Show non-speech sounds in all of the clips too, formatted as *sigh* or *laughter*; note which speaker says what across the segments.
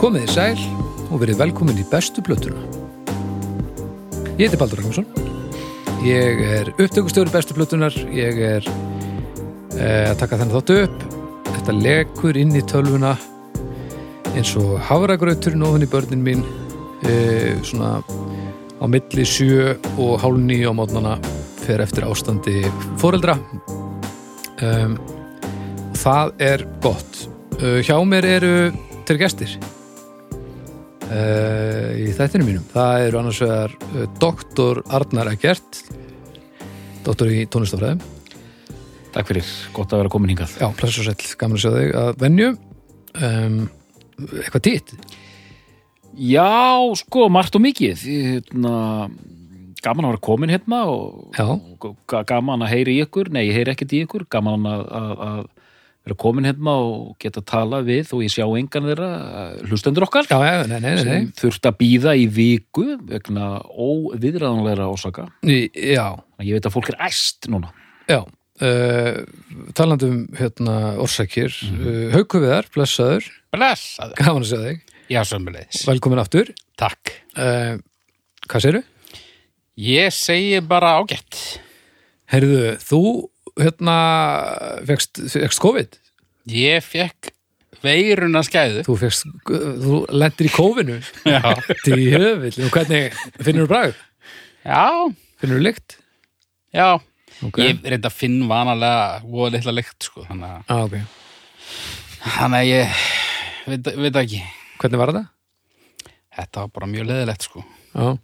Speaker 1: Komið í sæl og verið velkomin í bestu blötuna. Ég heiti Baldur Ragnarsson. Ég er upptökustjóri bestu blötunar. Ég er eh, að taka þennan þáttu upp. Þetta lekur inn í tölvuna eins og hafragrauturinn ofan í börnin mín eh, svona á milli sjö og hálf nýju á mótnana fer eftir ástandi foreldra. Um, það er gott. Uh, hjá mér eru þeir gestir uh, í þættinu mínum. Það eru annars vegar uh, doktor Arnar Egert, doktor í tónlistafræðum.
Speaker 2: Takk fyrir, gott að vera komin hingað.
Speaker 1: Já, plessu sæll, gaman að sjá þig að venju. Um, eitthvað dýtt?
Speaker 2: Já, sko, margt og mikið. Hérna, gaman að vera komin hérna og,
Speaker 1: Já.
Speaker 2: og ga- gaman að heyri í ykkur. Nei, ég heyri ekkert í ykkur. Gaman að, að, að vera komin hérna og geta tala við og ég sjá engan þeirra eh, hlustendur okkar
Speaker 1: Já, já, nei, nei, nei.
Speaker 2: sem þurft að býða í viku vegna óviðræðanlegra ásaka.
Speaker 1: nei. Í- Já,
Speaker 2: Ég veit að fólk er æst núna.
Speaker 1: já. Uh, talandi um hérna, orsakir mm -hmm. uh, Haukuviðar, blessaður,
Speaker 3: Blessaður.
Speaker 1: gaman að sjá þig
Speaker 3: Já, sömulegis.
Speaker 1: velkomin aftur
Speaker 3: Takk.
Speaker 1: uh, hvað séru?
Speaker 3: Ég segi bara ágætt.
Speaker 1: Heyrðu, þú hérna fegst, fegst COVID
Speaker 3: Ég fekk veiruna skæðu.
Speaker 1: þú, fegst, þú lendir í kófinu
Speaker 3: Já.
Speaker 1: til í höfull og hvernig finnur þú bragð?
Speaker 3: Já,
Speaker 1: Finnur þú lykt?
Speaker 3: já.
Speaker 1: Okay.
Speaker 3: Ég reynda að finn vanalega voða litla lykt, sko. Þannig að,
Speaker 1: Ah, ok.
Speaker 3: þannig að ég veit, veit það ekki.
Speaker 1: Hvernig var það?
Speaker 3: Þetta var bara mjög leðilegt, sko.
Speaker 1: Já.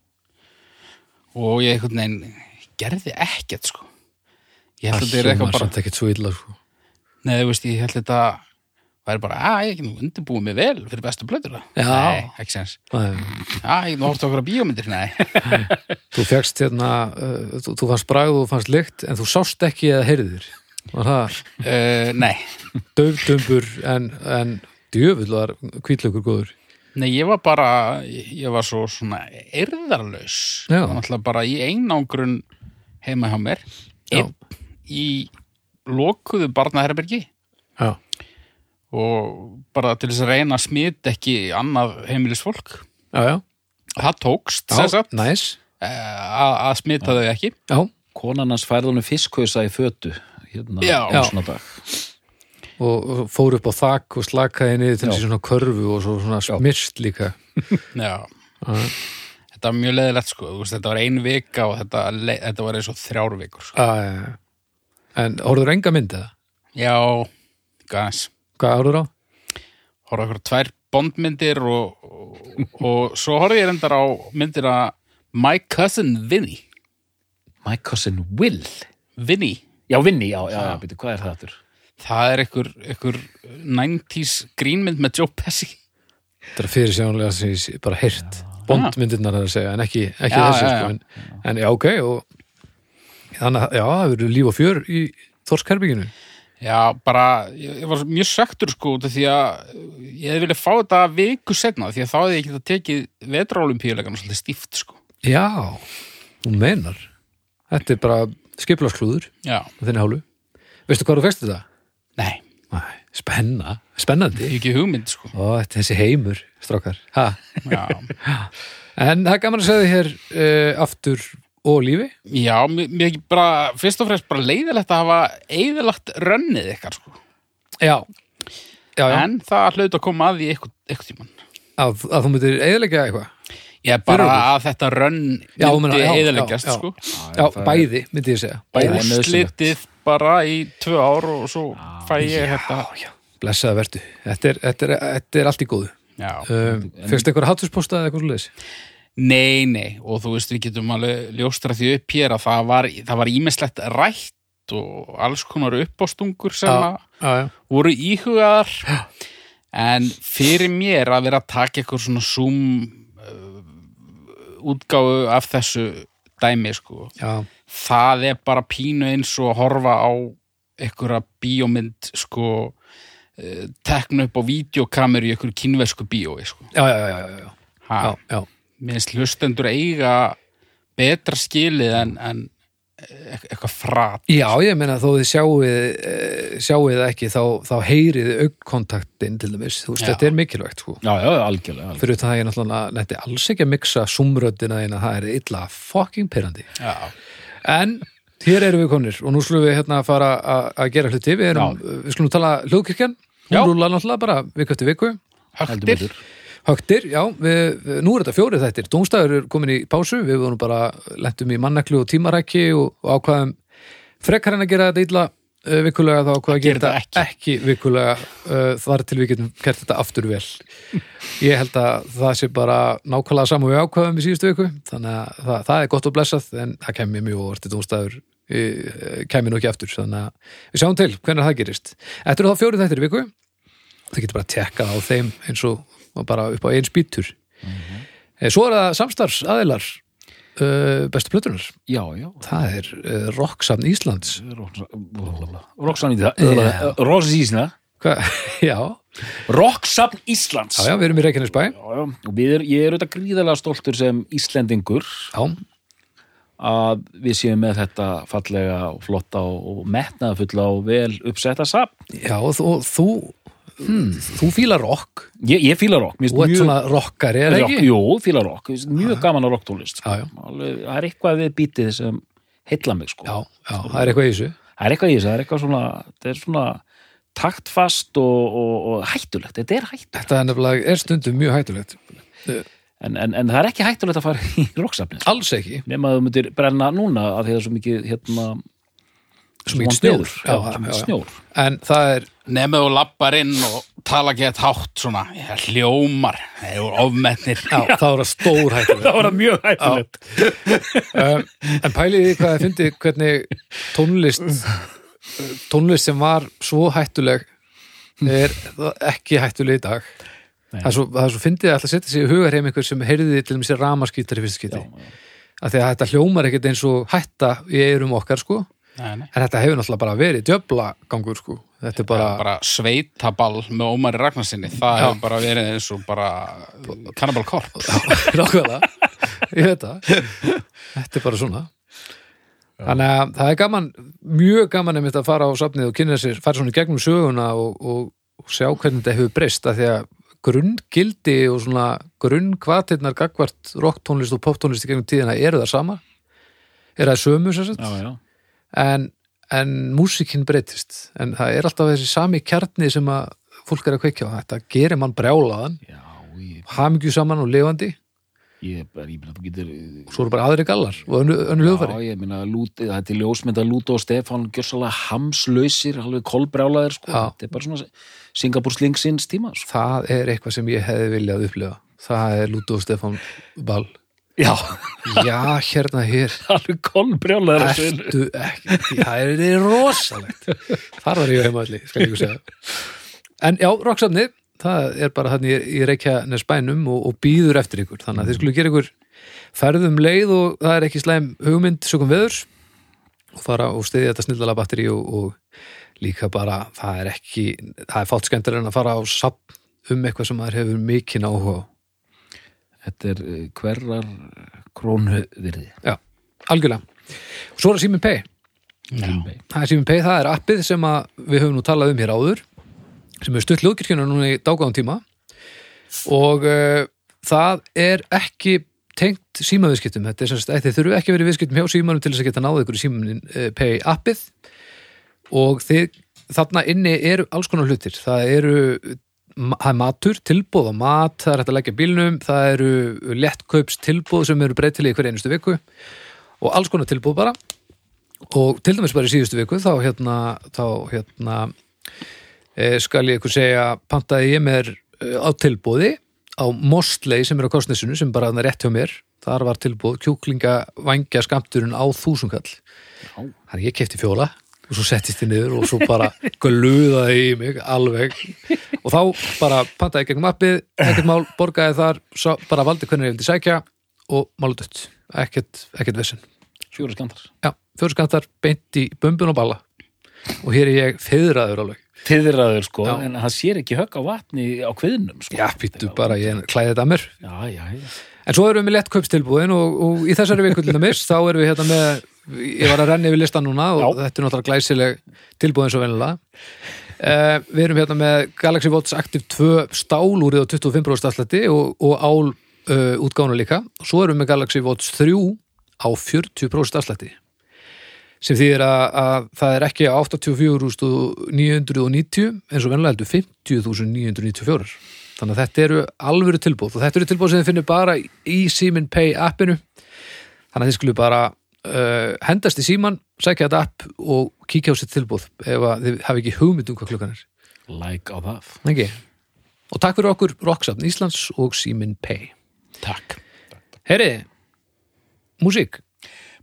Speaker 3: Og ég einhvern veginn gerði ekkert, sko. Ég held að þetta er
Speaker 1: hljómar
Speaker 3: eitthvað bara,
Speaker 1: samt ekkert svo illa sko.
Speaker 3: nei, þú veist, ég held þetta væri bara, að ég er ekki nú undirbúið mig vel fyrir bestu blöður það.
Speaker 1: Já.
Speaker 3: Nei, ekki sens.
Speaker 1: Nei,
Speaker 3: Að ég nú horfði okkur á bíómyndir, nei. *laughs*
Speaker 1: Þú fegst hérna uh, þú, þú fannst bragð og þú fannst lykt en þú sást ekki eða heyrðir var það
Speaker 3: uh, nei.
Speaker 1: döfdumbur en, en djöfull var kvítlaugur góður
Speaker 3: Nei, ég var bara, ég var svo svona erðarlaus.
Speaker 1: Já.
Speaker 3: Náttúrulega bara í einangrun heima hjá mér.
Speaker 1: Já.
Speaker 3: Einn Í lokuðu barnaherbergi
Speaker 1: Já.
Speaker 3: og bara til þess að reyna að smita ekki annað heimilisfólk.
Speaker 1: Já, já.
Speaker 3: Það tókst,
Speaker 1: Já,
Speaker 3: sem sagt,
Speaker 1: Næs.
Speaker 3: eh, að að smita þau ekki.
Speaker 1: Já.
Speaker 2: Konan hans færði honum fiskhausa í fötu. Hérna,
Speaker 3: Já.
Speaker 2: einu svona dag.
Speaker 1: og og fór upp á þak og slakaði niður til
Speaker 2: Já.
Speaker 1: þessi svona körfu og svo svona smyrst líka
Speaker 3: Já. Þetta var mjög leðilegt, sko. Þú veist, Þetta var ein vika og þetta, le- þetta var eins og þrjár vikur. Sko.
Speaker 1: uh, en horfður enga myndið
Speaker 3: Já, gæs.
Speaker 1: hvað horfður á?
Speaker 3: horfði okkur á tvær bondmyndir og, og, og svo horfði ég reyndar á myndina My Cousin Vinny
Speaker 2: My cousin Will.
Speaker 3: Vinny,
Speaker 2: Já, Vinni, já, já, já, byrju, hvað er það aftur?
Speaker 3: það er ykkur, ykkur 90s grínmynd með Joe Pesci
Speaker 1: þetta er fyrir sjónlega sem ég sé- bara heyrt bondmyndirnar er að segja en ekki, ekki
Speaker 3: Já,
Speaker 1: þessi
Speaker 3: já, já.
Speaker 1: sko en, en já ok og, þannig að já það verður líf og fjör í Þorskerbygginu
Speaker 3: Já, bara, ég, ég var mjög söktur sko út af því að eh, ég hefði viljað fá þetta viku setna því að þá hefði ég getað tekið vetraolimpíuleikana svolítið stíft sko
Speaker 1: já, þú meinar þetta er bara skiplarsklúður
Speaker 3: Já,
Speaker 1: á þinni hálfu veistu hvað þú fegst þetta?
Speaker 3: nei,
Speaker 1: Nei, spenna, spennandi
Speaker 3: ekki hugmynd sko
Speaker 1: Ó, þetta er þessi heimur, strókar ha.
Speaker 3: Já,
Speaker 1: En það er gaman að segja þið hér uh, aftur og lífi.
Speaker 3: Já mér, mér ekki bara, fyrst og fremst bara leiðilegt að hafa eigðilagt rönnið ykkar sko
Speaker 1: Já. Já, já.
Speaker 3: en það hlaut að koma að því eitthvað, eitthvað tíman
Speaker 1: Að, að þú myndir eðilegja eitthvað.
Speaker 3: ég bara
Speaker 1: Fyrir okkur.
Speaker 3: að þetta rönn
Speaker 1: Já, ég meina,
Speaker 3: myndi
Speaker 1: já,
Speaker 3: eðileggjast
Speaker 1: já, já.
Speaker 3: sko
Speaker 1: Já,
Speaker 2: það er-
Speaker 1: bæði, myndi ég segja.
Speaker 2: Bæði. er nauðsynlegt.
Speaker 3: úrslitið bara í tvö ár og svo fæ ég hérna- þetta
Speaker 1: já. Blessaða verdu. Þetta er, þetta, er, þetta er allt í góðu.
Speaker 3: já.
Speaker 1: Um, Fyrst eitthvað hattuspósta eða eitthvað svoleiðis?
Speaker 3: nei, nei, og þú veist við getum alveg ljóstra því upp hér að það var, það var ímislegt rætt og alls konar uppástungur sem að
Speaker 1: já, já.
Speaker 3: voru íhugaðar en fyrir mér að vera að taka eitthvað svona zoom uh, útgáfu af þessu dæmi sko
Speaker 1: Já,
Speaker 3: það er bara pínu eins og að horfa á einhverja bíómynd sko eh, tekna upp á videokameru í einhverju kínversku bíói sko.
Speaker 1: já, já, já, já, já.
Speaker 3: Ha,
Speaker 1: já, já.
Speaker 3: mér finnst hlustendur eiga betra skilið en, en, e- eitthvað frat
Speaker 1: Já, ég meina þó þið sjáuð, eh, sjáuð það ekki þá, þá heyrið augkontaktin til dæmis, þú veist,
Speaker 3: Já.
Speaker 1: þetta er mikilvægt sko.
Speaker 2: já, já, algjörlega, algjörlega.
Speaker 1: Fyrir utan það ég náttúrulega nætti alls ekki að mixa sumröddina þína, það er illa fucking pyrrandi.
Speaker 3: já,
Speaker 1: En hér erum við konir og nú slum við hérna að fara að- að gera hluti, við erum, við slum tala hljóðkirkjan, hún
Speaker 3: Já.
Speaker 1: rúla náttúrulega bara viku eftir viku.
Speaker 2: Heldur
Speaker 3: högtir
Speaker 2: betur.
Speaker 1: Högtir, já, við, við- nú er þetta fjórið þættir. Dómstæður er komin í pásu, við vorum bara lentum í mannaklu og tímarækki og, og ákvaðum frekar en að gera þetta illa uh, vikulega þá ákvaðum að gera
Speaker 3: Gera
Speaker 1: þetta
Speaker 3: þetta
Speaker 1: ekki, vikulega uh, þar til við getum gert þetta aftur
Speaker 3: *laughs*
Speaker 1: vel. Ég held að það sé bara nákvæmlega saman við ákvaðum í síðustu viku, þannig að það, það er gott og blessað en það kemur mjög orðið dómstæður uh, kemur nú ekki aftur, þannig að við sjáum til hvernig það gerist. Þetta eru þá fjórið þættir í viku það getur bara að tekka á þeim eins og og bara upp á einn spýtur mm svo er það samstarfs aðilar uh, bestu plötunar
Speaker 2: já, já
Speaker 1: það er uh, Rocksafn Íslands
Speaker 2: Roxan í það Rosísna
Speaker 1: Hva? *laughs* já,
Speaker 2: Roxafn Íslands
Speaker 1: já, já, við erum í Reykjanesbæ
Speaker 2: Já, já. og við er, ég er auðvitað gríðarlega stoltur sem Íslendingur
Speaker 1: já,
Speaker 2: að við séum með þetta fallega og flotta og, og metnaðfulla og vel uppsetta safn.
Speaker 1: já og þú þú, hmm, þú fílar rock
Speaker 2: Ég, ég fíla rock, mér
Speaker 1: þú ert
Speaker 2: finnst mjög
Speaker 1: svona rockari, er það
Speaker 2: rock,
Speaker 1: ekki?
Speaker 2: jú, fíla rock, Mér finnst mjög gaman á rocktónlist.
Speaker 1: Já, já.
Speaker 2: Alveg- Það er eitthvað við bítið sem heilla mig sko.
Speaker 1: Já, já, það er eitthvað í þessu
Speaker 2: Það er eitthvað í þessu, það er eitthvað svona, það er svona taktfast og, og, og hættulegt, þetta er hættulegt.
Speaker 1: þetta er nefnilega, er stundum mjög hættulegt
Speaker 2: En, en, en það er ekki hættulegt að fara í *laughs* rocksafnið. sko.
Speaker 1: alls ekki,
Speaker 2: Nema að þú myndir brenna núna af því að það er svo mikið, hérna,
Speaker 1: svo mikið
Speaker 2: svona
Speaker 1: snjór
Speaker 2: veður.
Speaker 1: Já,
Speaker 2: Já, svo
Speaker 1: já,
Speaker 2: mikið
Speaker 1: já.
Speaker 2: snjór.
Speaker 1: en það er
Speaker 3: nema þú lappar inn og tala ekki að hátt svona já, hljómar, þeir eru ofmennir
Speaker 1: já, það er að stór hættulegt
Speaker 2: var *laughs* það mjög hættulegt.
Speaker 1: um, en pæliði hvað þið fyndi hvernig tónlist tónlist sem var svo hættuleg er ekki hættuleg í dag
Speaker 2: Nei.
Speaker 1: það er, svo, það er svo fyndið að alltaf setja sig í hugarheim einhver sem heyrði til þess að ramaskítar í fyrsta skiti af því að þetta hljómar ekkert eins og hætta í eyrum okkar sko en
Speaker 3: Nei, nei.
Speaker 1: þetta hefur náttúrulega bara verið djöbla gangur sko þetta er bara,
Speaker 3: bara sveitaball með Ómari Ragnarsinni það hefur bara verið eins og bara Cannibal Corpse
Speaker 1: nákvæmlega ég veit það þetta er bara svona þannig að það er gaman, mjög gaman einmitt að fara á safnið og kynna sér, fara svona í gegnum söguna og, og, og sjá hvernig þetta hefur breyst af því að grunngildi og svona grunnkvatirnar gagvart rocktónlist og poptónlist í gegnum tíðina eru það sama eru það sömu sér sett
Speaker 2: Já, já.
Speaker 1: en, en músikinn breytist en það er alltaf þessi sami kjarni sem að fólk er að kveikja á þetta gerir mann brjálaðan,
Speaker 2: Já, ég,
Speaker 1: hamingju saman og lifandi
Speaker 2: ég, bara, ég meina, þú getur...
Speaker 1: og svo eru bara aðri gallar og önnu, önnu hljóðfæri
Speaker 2: Já, ég meina, lút, það er til ljósmynd að Lúto og Stefán gjörsalega hamslausir, alveg kolbrjálaðir, sko.
Speaker 1: Já.
Speaker 2: Þetta er bara svona Singapur slingsins tíma, sko.
Speaker 1: það er eitthvað sem ég hefði viljað upplifa það er Lúto og Stefán *laughs* Ball
Speaker 2: Já, *laughs*
Speaker 1: já, hérna hér
Speaker 2: alveg kolbrjálaðir. á sviðinu.
Speaker 1: ertu ekki, það er þið rosalegt þar var ég heima allir, skal ég ykkur segja en já, rocksafnið það er bara hann í, í reykja nesbænum og, og býður eftir ykkur, þannig að þið skulle gera ykkur ferðum leið og það er ekki slæm hugmynd sögum veður og fara og stiðja þetta snildalega batteri og, og líka bara, það er ekki það er fátt skemmtir en að fara á safn um eitthvað sem maður hefur mikinn áhuga á
Speaker 2: Þetta er eh, hverrar eh, krónu virði.
Speaker 1: já, algjörlega og svo er það Simin Pei Það er Sýmin Pay, það er appið sem að við höfum nú talað um hér áður sem er stutt hljóðkirkjuna núna í dágáðum tíma og uh, það er ekki tengt símaviðskiptum þetta er semst, þið þurfu ekki að vera í viðskiptum hjá símanum til þess að geta náðu ykkur í símanin uh, Pay appið og þið, þarna inni eru alls konar hlutir það eru ma- það er matur, tilbúð á mat, það er hægt að leggja í bílnum, það eru lettkaups tilbúð sem eru breytilega í hverja einustu viku og alls konar tilbúð bara og til dæmis bara í síðustu viku þá hérna, þá, hérna e, skal ég ykkur segja pantaði ég mér e, á tilbúði á Mostley sem er á kostnissinu sem bara hann er rétt hjá mér þar var tilbúð kjúklingavangja skamturinn á þúsungall þannig ég kefti fjóla og svo settist þið niður og svo bara gluðaði í mig alveg og þá bara pantaði ég gegnum appið ekkert mál, borgaði þar sá, bara valdi hvernig ég vildi sækja og málu dött, ekkert, ekkert vesinn
Speaker 2: Fjóra skandar.
Speaker 1: Já, fjórskantar beint í bumbun og balla og hér er ég feðraður alveg
Speaker 2: Tiðraður, sko,
Speaker 1: Já.
Speaker 2: en það sér ekki högg á vatni á kviðnum, sko.
Speaker 1: Já, býttu bara, ég klæði þetta að mér
Speaker 2: Já, já, já.
Speaker 1: En svo erum við með lettkaupstilbúðin og, og í þessari viku til dæmis þá erum við hérna með ég var að renna yfir listan núna og þetta er náttúrulega glæsileg tilbúð eins og venilega uh, Við erum hérna með Galaxy Watch Active 2 stál úr eða 25% afslætti og, og ál uh, útgána líka Svo erum við með Galaxy Watch 3 á 40% afslætti sem þýðir að, að það er ekki 84.990 eins og venilega heldur 50.994 Þannig að þetta eru alvöru tilbúð og þetta eru tilbúð sem þið finnir bara í Simin Pay appinu þannig að þið skulle bara uh, hendast í síman, sækja þetta app og kíkja á sitt tilbúð ef að þið hafi ekki hugmynd um hvað klukkan er
Speaker 2: Like á það.
Speaker 1: ekki. og takk fyrir okkur Rocksafn Íslands og Símin Pay
Speaker 3: Takk.
Speaker 1: Heyri, músík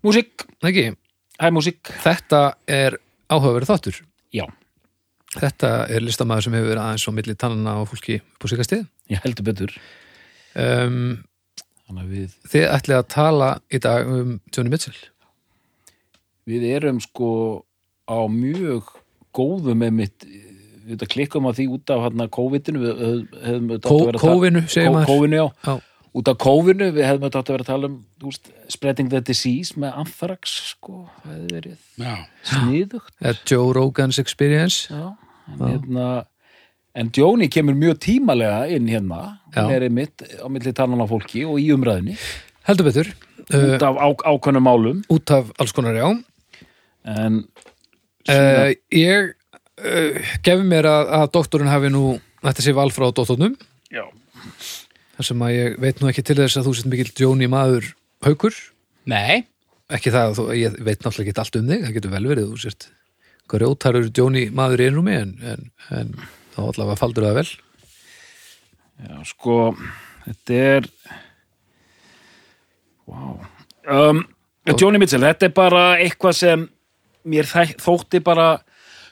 Speaker 2: Músík,
Speaker 1: ekki.
Speaker 2: hæ músík.
Speaker 1: þetta er áhugaverið þáttur
Speaker 2: Já,
Speaker 1: þetta er listamaður sem hefur verið aðeins á milli tannana á fólki upp á síkastið
Speaker 2: ég heldur betur.
Speaker 1: um,
Speaker 2: Þannig að við,
Speaker 1: þið ætlið að tala í dag um Johnny Mitchell
Speaker 2: við erum sko á mjög góðum einmitt, eh, við þetta klikkum að því út af hérna COVID-inu, við höfum- hefðum auðvitað átt að vera að tala-
Speaker 1: Kóvinu, segir
Speaker 2: Kó-
Speaker 1: maður
Speaker 2: Kófinu, já.
Speaker 1: Já.
Speaker 2: Út af kófinu, við hefðum auðvitað átt að vera að tala um þú veist, spreading the disease með anthrax, sko, hefði verið
Speaker 3: Já.
Speaker 2: sniðugt.
Speaker 1: Er Joe Rogan's Experience
Speaker 2: Já, en hérna en Jóni kemur mjög tímalega inn hérna,
Speaker 1: Já.
Speaker 2: hún er einmitt á milli tannan á fólki og í umræðinni
Speaker 1: heldur betur uh,
Speaker 2: út af á, ákveðnum málum
Speaker 1: út af alls konar já
Speaker 2: en
Speaker 1: uh, ég uh, gefi mér að, að doktorinn hafi nú þetta sé val frá doktornum
Speaker 2: já,
Speaker 1: þar sem að ég veit nú ekki til þess að þú sett mikill Jóni maður haukur
Speaker 3: Nei.
Speaker 1: ekki það að þú, ég veit náttúrulega ekki allt um þig það getur vel verið þú sért grjótarur Jóni maður í einrúmi en, en, en þá allavega faldur það vel
Speaker 2: já, sko þetta er wow um, Jóni Mitchell, þetta er bara eitthvað sem mér þæ- þótti bara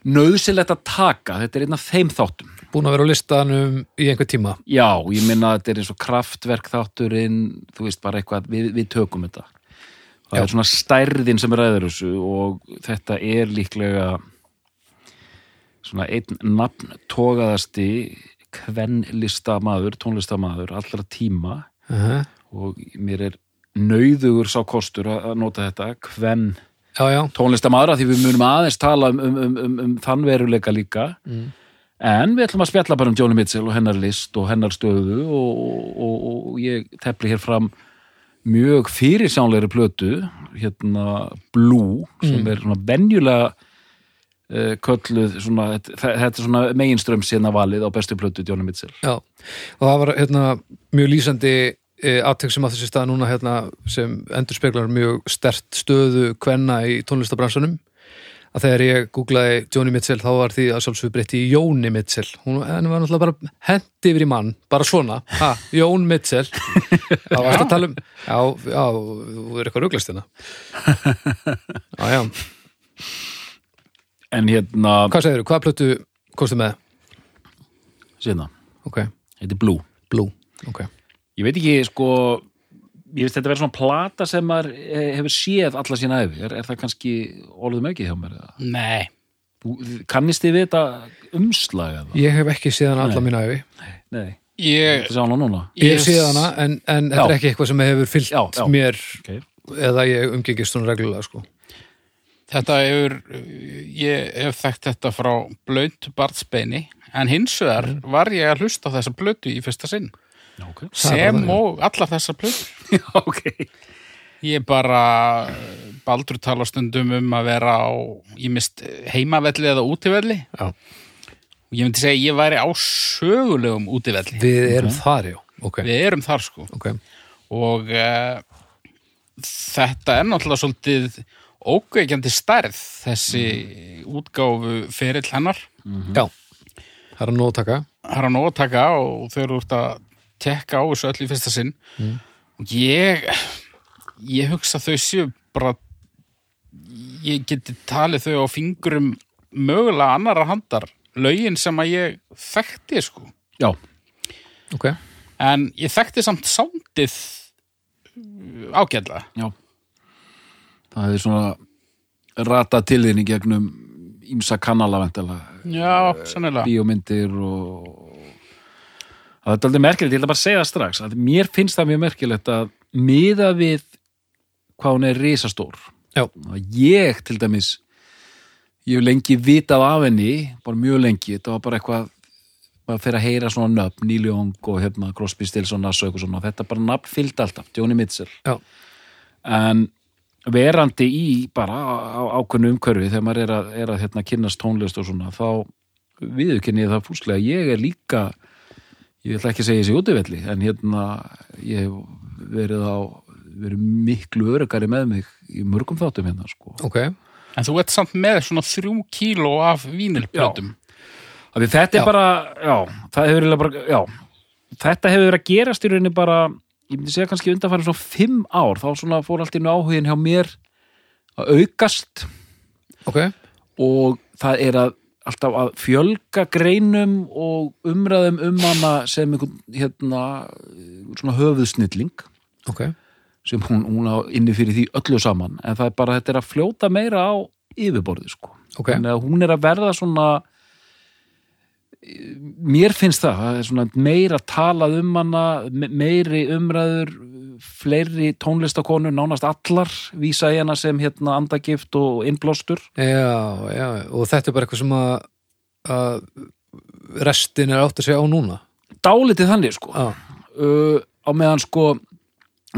Speaker 2: nöðsilegt að taka þetta er einn af þeim þáttum
Speaker 1: búin að vera á listanum í einhver tíma
Speaker 2: Já, ég minna að þetta er eins og kraftverk þátturinn, þú veist bara eitthvað, við, við tökum þetta. Það
Speaker 1: Já.
Speaker 2: er svona stærðin sem ræður þessu og þetta er líklega svona einn nafn togaðasti kvenlistamaður, tónlistamaður allra tíma
Speaker 1: uh -huh.
Speaker 2: og mér er nauðugur sá kostur að að nota þetta, kvenn
Speaker 1: já já,
Speaker 2: tónlistamaður að því við munum aðeins tala um, um, um, um, um þann veruleika líka en við ætlum að spjalla bara um Joni Mitchell og hennar list og hennar stöðu og, og, og, og ég tepli hér fram mjög fyrirsjónlegri plötu hérna Blue sem er svona venjulega uh, kölluð svona, þetta, þetta er svona meginströms hérna valið á bestu plötu Joni Mitchell
Speaker 1: já og það var hérna mjög lýsandi aðtek sem að þessi stað núna hérna sem endur speklar mjög stert stöðu kvenna í tónlistabransanum að þegar ég googlaði Joni Mitchell þá var því að sjálfsögur breytti í Jóni Mitchell hún henni var náttúrulega bara hendi yfir í mann bara svona, ha, Jón Mitchell þá varst að tala um já, já, þú er eitthvað ruglast hérna já, já,
Speaker 2: en hérna,
Speaker 1: hvað segirðu, hvað plötu kostu með,
Speaker 2: síðan,
Speaker 1: ok,
Speaker 2: þetta er Blue
Speaker 1: Blue ok,
Speaker 2: Ég veit ekki, sko, ég veist þetta verið svona plata sem maður eh, hefur séð alla sína æfi. Er, er það kannski orðum ekki hjá mér? eða?
Speaker 3: Nei.
Speaker 2: Þú, þið- kannist þið við þetta umslag eða?
Speaker 1: ég hef ekki síðan alla mína æfi
Speaker 2: Nei,
Speaker 3: Ég,
Speaker 2: þetta sá hana núna.
Speaker 1: Ég
Speaker 3: Yes.
Speaker 1: sé hana, en, en þetta er
Speaker 2: Já.
Speaker 1: ekki eitthvað sem hefur fyllt
Speaker 2: Já, já.
Speaker 1: mér
Speaker 2: Okay.
Speaker 1: eða ég umgengist svona reglulega, sko.
Speaker 3: þetta hefur, ég hef þekkt þetta frá blönt barnsbeini, en hins vegar var ég að hlusta á þessa blötu í fyrsta sinn.
Speaker 2: Já, ok.
Speaker 1: Það er bara
Speaker 3: Sem
Speaker 1: þannig.
Speaker 3: og allar þessar blötu.
Speaker 2: *laughs* Já, ok.
Speaker 3: Ég bara, Baldur tala stundum um að vera á, ég mist heimavelli eða útivelli.
Speaker 1: Já.
Speaker 3: Og Ég myndi segja, ég væri á sögulegum útivelli.
Speaker 1: Við erum þar, já. Ok,
Speaker 3: Við erum þar sko.
Speaker 1: ok.
Speaker 3: Og uh, þetta er náttúrulega svolítið ókveikjandi stærð, þessi útgáfu ferill hennar.
Speaker 1: Já, það er að nóg að taka.
Speaker 3: Það er að nóg að taka og þau eru út að tekka á þessu öll í fyrsta sinn.
Speaker 2: Mm.
Speaker 3: Og ég, ég hugsa að þau séu bara, ég geti talið þau á fingurum mögulega annara handar, lögin sem að ég þekkti sko.
Speaker 2: Já,
Speaker 1: Ok,
Speaker 3: En ég þekkti samt uh, sándið ágæðlega.
Speaker 2: já. Það er svona rata til þín í gegnum ímsa kanala vantilega.
Speaker 3: Já,
Speaker 2: Eh,
Speaker 3: sannilega.
Speaker 2: Bíómyndir og... Það er aldrei merkilegt, ég ætla bara að segja það strax. Að mér finnst það mjög merkilegt að miða við hvað hún er risastór.
Speaker 1: Já.
Speaker 2: og ég til dæmis ég hef lengi vitað af henni bara mjög lengi, þetta var bara eitthvað maður fer að heyra svona nöfn, Neil Young og hefna, Crosby, Stills og Nass og eitthvað svona þetta bara nafn fyllt alltaf, Joni Mitchell
Speaker 1: já,
Speaker 2: en verandi í bara á ákveðnu umhverfi þegar maður er að, er að hérna, kynnast tónlist og svona þá viðurkenni ég það fúslega ég er líka ég ætla ekki að segja þessi útivelli en hérna ég hef verið á verið miklu örugari með mig í mörgum þáttum hérna sko.
Speaker 1: ok
Speaker 3: En þú ert samt með svona þrjú kíló af vínilplötum.
Speaker 2: Af því þetta er
Speaker 1: Já.
Speaker 2: bara, já, það hefur eiginlega bara, já, þetta hefur verið að gerast í rauninni bara, ég myndi segja kannski undanfæri svona fimm ár, þá svona fór allt í einu áhugin hjá mér að aukast
Speaker 1: ok,
Speaker 2: og það er að alltaf að fjölga greinum og umræðum um hana sem einhvern, hérna, svona höfuðsnilling
Speaker 1: ok
Speaker 2: sem hún, hún á inni fyrir því öllu saman en það er bara þetta er að fljóta meira á yfirborði sko
Speaker 1: Ok.
Speaker 2: þannig að hún er að verða svona mér finnst það, það er svona meira talað um hana me- meiri umræður fleiri tónlistakonu, nánast allar vísa í hana sem hérna andagift og innblóstur
Speaker 1: já, já, og þetta er bara eitthvað sem að, að restin er átt að segja á núna
Speaker 2: dálítið þannig sko
Speaker 1: já,
Speaker 2: uh, á meðan sko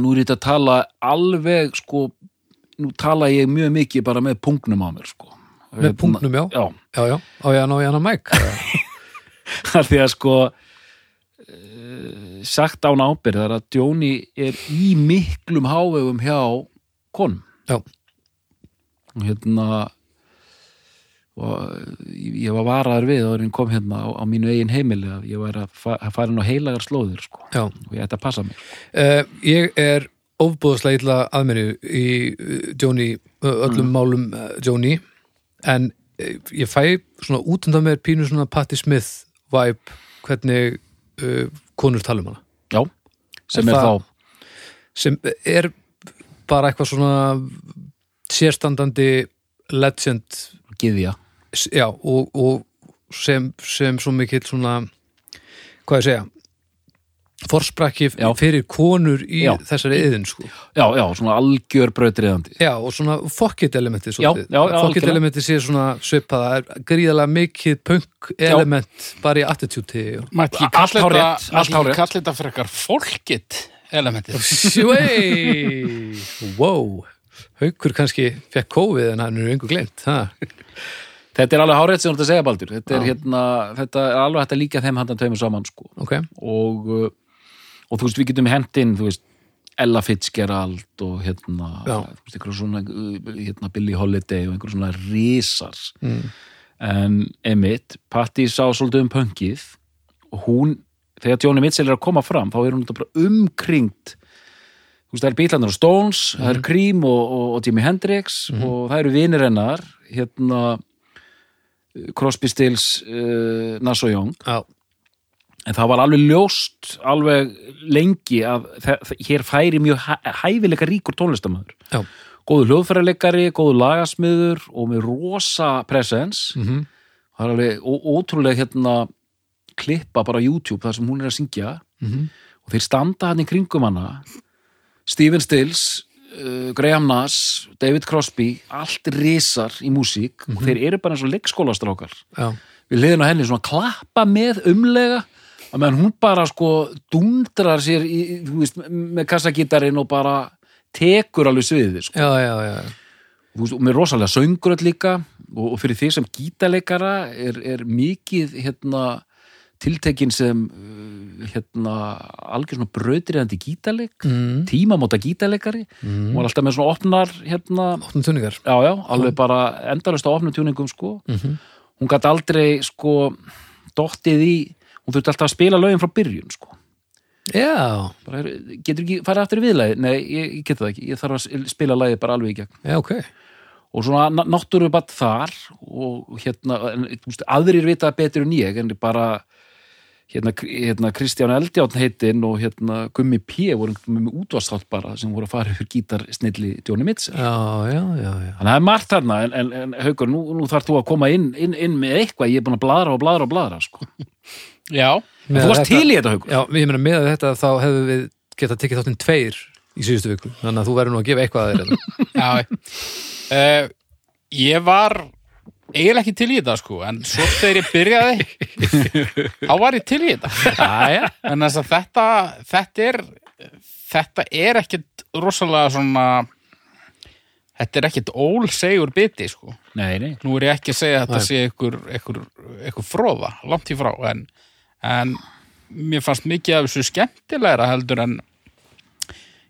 Speaker 2: nú er þetta að tala alveg sko, nú tala ég mjög mikið bara með pungnum á mér sko
Speaker 1: með
Speaker 2: Hérna,
Speaker 1: punktnum, já
Speaker 2: Já,
Speaker 1: já, já, á ég að ná ég hann að mæk
Speaker 2: *laughs* af því að sko eh, sagt án ábyrðar að Djóni er í miklum hávegum hjá konum
Speaker 1: já,
Speaker 2: og hérna og eh, ég ég var varaður við og hann kom hérna á, á mínu eigin heimili að ég var að, fa að fara inn á heilagar slóðir sko.
Speaker 1: já
Speaker 2: og ég ætti að passa mig
Speaker 1: Uh, ég er ofbúðslega illa að mér í uh, Johnny, uh, öllum
Speaker 2: Mm.
Speaker 1: málum uh, Johnny en uh, ég fæ svona út undan mér pínu svona Patti Smith vibe hvernig uh, konur tala um hana
Speaker 2: já, sem
Speaker 1: En
Speaker 2: er,
Speaker 1: það-
Speaker 2: þá
Speaker 1: sem er bara eitthvað svona sérstandandi legend
Speaker 2: gyðja
Speaker 1: s- já, og, og sem, sem svo mikill svona hvað ég segja forsprakki
Speaker 2: Já.
Speaker 1: fyrir konur í
Speaker 2: Já.
Speaker 1: þessari yðin sko
Speaker 2: já, já, svona algjör brautriðandi
Speaker 1: Já, og svona fokkit elementið
Speaker 2: Já,
Speaker 1: svolítið.
Speaker 2: já, já,
Speaker 1: Fokkit
Speaker 2: algjörlega.
Speaker 1: elementið sé svona svipað það er gríðalega mikið punk element bara í attitúti
Speaker 3: Mætti ekki
Speaker 2: Allt
Speaker 3: kalla
Speaker 2: hárrétt,
Speaker 3: þetta-
Speaker 2: allt
Speaker 3: mætti ekki
Speaker 2: hárrétt.
Speaker 3: kalla þetta frekar fólkit elementið.
Speaker 1: Svei! wow! Haukur kannski fekk COVID en hann er engu gleymt ha?
Speaker 2: þetta er alveg hárétt sem þú ert að segja Baldur þetta er,
Speaker 1: Já.
Speaker 2: hérna, þetta er alveg hægt að líka þeim handan tveimur saman sko.
Speaker 1: Ok,
Speaker 2: og uh, og þú veist, við getum hendinn, þú veist Ella Fitzgerald og hérna
Speaker 1: Já.
Speaker 2: þú veist, einhverjum svona uh, hérna Billie Holiday og einhverjum svona risar mm. en Emmett Patti sá svolítið um pöngið og hún, þegar Johnny Mitchell er að koma fram þá er hún þetta bara umkringt þú veist, það er Beatlandar og Stones það er Cream og, og, og Jimi Hendrix og það eru vinir hennar hérna Crosby Stills uh, Nass og Young
Speaker 1: já,
Speaker 2: en það var alveg ljóst alveg lengi að þe- þe- hér færi mjög hæ- hæfileika ríkur tónlistamöður
Speaker 1: já,
Speaker 2: góðu hljóðfærarleikari, góðu lagasmiður og með rosa presens
Speaker 1: mhm,
Speaker 2: það er alveg ó- ótrúlega hérna klippa bara á YouTube þar sem hún er að syngja
Speaker 1: mhm,
Speaker 2: og þeir standa hann í kringum hana Stephen Stills uh, Graham Nass, David Crosby allt risar í músík og þeir eru bara eins og leikskólastrákar
Speaker 1: já,
Speaker 2: við liðin á henni svona klappa með umlega að meðan hún bara sko dundrar sér í, í- þú veist, með kassagítarinn og bara tekur alveg sviðið sko.
Speaker 1: já, já, já,
Speaker 2: Þú veist, og með rosalega söngröld líka og, og fyrir því sem gítarleikara er, er mikið hérna tiltekin sem uh, hérna algjör svona brautriðandi gítarleik
Speaker 1: mhm,
Speaker 2: tímamóta gítarleikari hún
Speaker 1: mhm,
Speaker 2: var alltaf með svona opnar hérna,
Speaker 1: óttum tunningar,
Speaker 2: já já, alveg bara endalust á opnum tjúningum sko
Speaker 1: mhm,
Speaker 2: hún gæti aldrei sko dottið í, hún þurfti alltaf að spila lögin frá byrjun sko
Speaker 1: já,
Speaker 2: bara, heyrðu, getur ekki farið aftur í viðlagi nei, ég, ég get það ekki, ég þarf að s- spila lagið bara alveg í gegn
Speaker 1: já, ok,
Speaker 2: og svona náttúru bara þar og hérna, en, þú veist, aðrir vita betur en ég, en bara hérna, Kr- hérna Kristján Eldjárn heitinn og hérna Gummi P voru með útvarsþátt bara sem voru að fara yfir gítarsnilli Djóni Mitchell
Speaker 1: já, já, já, já,
Speaker 2: Þannig að það er margt þarna, en, en, en haukur, nú, nú þarf þú að koma inn, inn, inn með eitthvað, ég er búin að bladra og bladra og bladra, sko.
Speaker 3: Já,
Speaker 2: En þú varst
Speaker 1: þetta-
Speaker 2: til í þetta, haukur.
Speaker 1: Já, ég meina með þetta þá hefðu við getað tekið þáttinn tveir í síðustu viku, þannig að þú verður nú að gefa eitthvað að þér hérna.
Speaker 3: já. uh, ég var eiginlega ekki til í þetta sko en svo þegar ég byrjaði þá var ég til í þetta
Speaker 2: Æja,
Speaker 3: en þess að þetta þetta er þetta er ekkit rosalega svona þetta er ekkit ólsegur biti sko
Speaker 2: nei, nei
Speaker 3: nú er ég ekki að segja að þetta sé ykkur, ykkur, ykkur fróða, langt í frá en, en mér fannst mikið af þessu skemmtilegra heldur en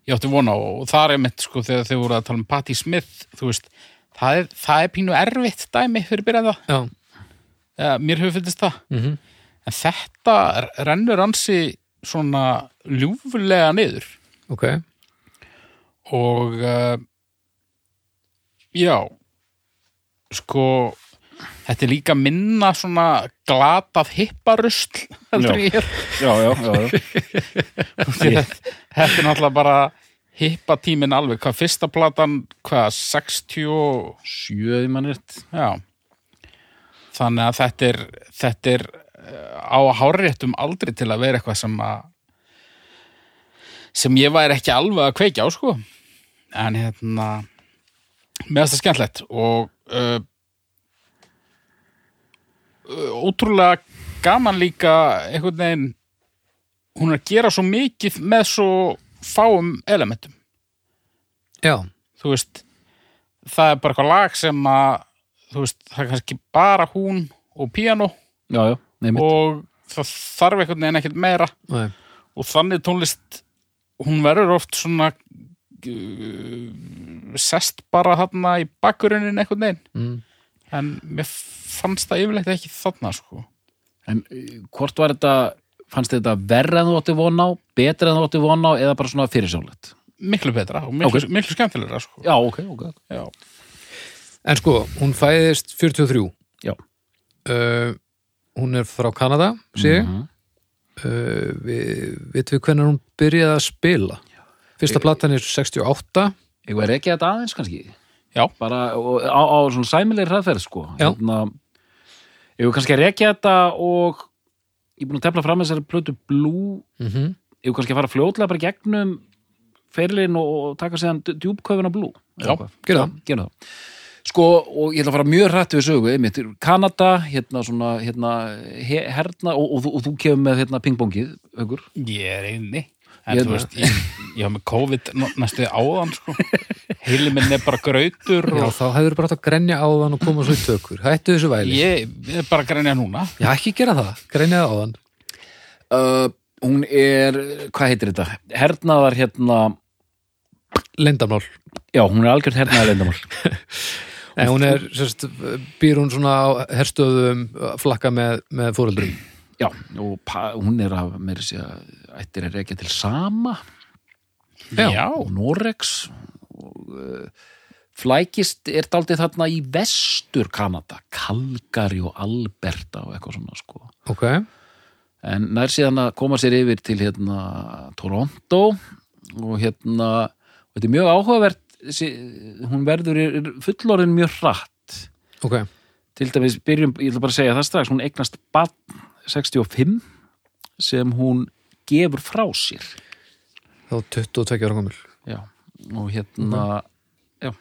Speaker 3: ég átti vona og þar er mitt sko þegar þau voru að tala um Patti Smith þú veist, það er, það er pínu erfitt dæmi fyrir byrjaða,
Speaker 1: hérna. já,
Speaker 3: ja, mér hefur fyllist það
Speaker 1: mm
Speaker 3: en þetta r- rennur ansi svona ljúfulega niður
Speaker 1: ok
Speaker 3: og uh, já sko þetta er líka minna svona glatað hipparusl *laughs* heldur
Speaker 2: Já.
Speaker 3: ég hér.
Speaker 2: Já, já, já, já. *laughs*
Speaker 3: þetta er náttúrulega bara hippatímin alveg, hvað fyrsta platan hvað, 60 og-
Speaker 2: Sjöði mann rétt
Speaker 3: já þannig að þetta er þetta er eh, á háréttum aldrei til að vera eitthvað sem að sem ég væri ekki alveg að kveikja á sko en hérna með þetta skemmtlegt og uh, ótrúlega gaman líka einhvern veginn hún er að gera svo mikið með svo fáum elementum
Speaker 1: já,
Speaker 3: þú veist það er bara eitthvað lag sem að þú veist, það er kannski bara hún og piano
Speaker 2: Já, já, nei mitt
Speaker 3: og það þarf einhvern veginn ekkert meira
Speaker 1: nei,
Speaker 3: og þannig tónlist hún verður oft svona uh, sest bara þarna í bakgrunin einhvern veginn
Speaker 1: mm.
Speaker 3: en mér fannst það yfirleitt ekki þarna sko
Speaker 2: En eh, hvort var þetta, fannst þetta verra en þú átti von á, betra en þú átti von á eða bara svona fyrirsjónlegt?
Speaker 3: miklu betra og miklu,
Speaker 2: Ok.
Speaker 3: miklu skemmtilegra sko
Speaker 2: Já, ok, ok
Speaker 3: Já.
Speaker 1: en sko, hún fæðist 43
Speaker 2: Já.
Speaker 1: uh, hún er frá Kanada sé ég
Speaker 2: Mhm.
Speaker 1: uh, við, veitum við hvernig hún byrjaði að spila fyrsta platan er 68
Speaker 2: Ég var ekki þetta aðeins kannski
Speaker 3: Já.
Speaker 2: Bara og, á, á svona sæmilir hraðferð sko
Speaker 1: Já.
Speaker 2: Ég var kannski að rekja þetta og ég er búin að tefla fram þessari plötu Blue
Speaker 1: mm
Speaker 2: Ég var kannski að fara fljótlega bara í gegnum ferilinn og, og taka séðan djúbköfuna Blue
Speaker 3: Já,
Speaker 1: gerðu það.
Speaker 2: Gerðu það Sko, og ég ætla að fara mjög hrætt við sögu einmitt, Kanada, hérna svona hérna, he, herna, og, og, þú- og þú kemur með hérna pingbongið, aukur
Speaker 3: ég er einni
Speaker 2: Ég
Speaker 3: en
Speaker 2: er
Speaker 3: þú veist, ég, ég var með COVID ná- næstu áðan
Speaker 2: *laughs*
Speaker 3: sko heili minn er bara grautur
Speaker 1: já,
Speaker 3: og
Speaker 1: þá hefur bara átt að grenja á þann og koma svo í tökur hættu þessu væli,
Speaker 3: Ég er bara að grænja núna.
Speaker 1: já ekki gera það grenja á þann,
Speaker 2: uh, Hún er, hvað heitir þetta? Hernaðar hérna
Speaker 1: lendamál
Speaker 2: Já, hún er algjörn hernaðar leyndamál
Speaker 1: en hún er, sérst, býr hún svona á herstöðum að flakka með, með fóreldrum
Speaker 2: Já, og pa, hún er af meira að segja, ættir að rekja til sama
Speaker 1: Já.
Speaker 2: og Norex og uh, flækist er daldið þarna í vestur Kanada, Calgary og Alberta og eitthvað svona sko
Speaker 1: ok,
Speaker 2: en nær síðan að koma sér yfir til hérna Toronto og hérna og þetta er mjög áhugavert þessi- hún verður er- er fullorðin mjög hratt
Speaker 1: ok,
Speaker 2: til dæmis byrjum, ég ætla bara að segja það strax hún eignast bann 65 sem hún gefur frá sér
Speaker 1: þá 22 ára komul
Speaker 2: já, og hérna já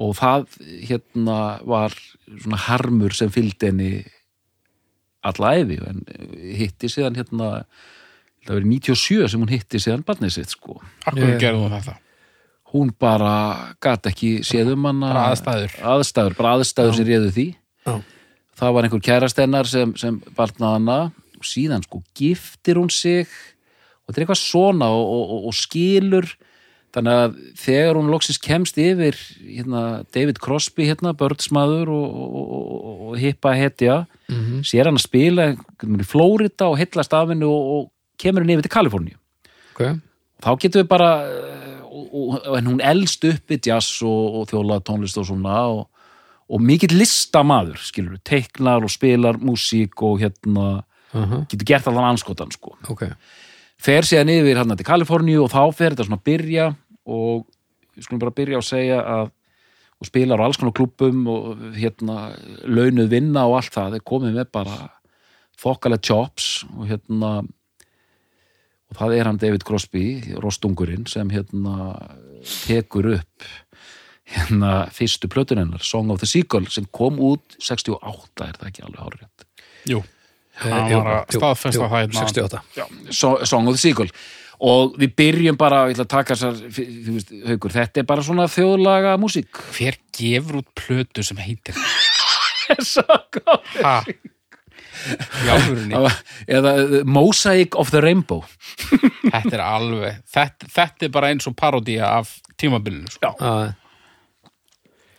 Speaker 2: og það hérna var svona harmur sem fylgdi henni alla æfi en hitti síðan hérna það verið 97 sem hún hitti síðan barnið sitt sko
Speaker 3: Akkur yeah.
Speaker 1: Ég-
Speaker 3: gerðum við þetta.
Speaker 2: hún bara gat ekki séð um hana
Speaker 3: Bara aðstæður.
Speaker 2: aðstæður, bara aðstæður sem réðu því
Speaker 1: Já.
Speaker 2: það var einhver kærastennar sem, sem barnaði hana og síðan sko giftir hún sig og þetta er eitthvað svona og, og, og, og skilur þannig að þegar hún loksins kemst yfir hérna, David Crosby hérna, börnsmaður og, og, og, og, og hippa hetja sér hann að spila einhvern veginn í Flórida og heillast af henni og, og kemur henni yfir til Kaliforníu
Speaker 1: ok,
Speaker 2: þá getum við bara eh, og, og, en hún elst upp í jazz og, og þjóla tónlist og svona og, og mikill listamaður skilur við, teiknar og spilar músík og hérna,
Speaker 1: uh
Speaker 2: getur gert allan anskotan sko,
Speaker 1: ok
Speaker 2: fer síðan yfir hérna til Kaliforníu og þá fer þetta svona að byrja og við skulum bara byrja að segja að og spilar á alls konar klubbum og hérna launuð vinna og allt það, þeir komið með bara þokkalega chops og hérna og það er hann David Crosby, rostungurinn sem hérna tekur upp hérna fyrstu plötun hennar, Song of the Seagull sem kom út 68, er það ekki alveg hárið
Speaker 3: Jú,
Speaker 1: Eh,
Speaker 3: hann
Speaker 1: jú,
Speaker 3: var að
Speaker 1: jú,
Speaker 3: staðfesta
Speaker 1: jú,
Speaker 3: það hérna.
Speaker 1: 68
Speaker 2: so Song of the Seagull og við byrjum bara, ég ætla að taka þessar þú veist, haukur, þetta er bara svona þjóðlaga músík
Speaker 3: Hver gefur út plötu sem *laughs* heitir
Speaker 2: eða
Speaker 3: það? Já, hvernig,
Speaker 2: eh, Mosaic of the Rainbow
Speaker 3: *laughs* þetta er alveg, þetta, þetta er bara eins og parodía af tímabilinu. Sko.
Speaker 1: Ah,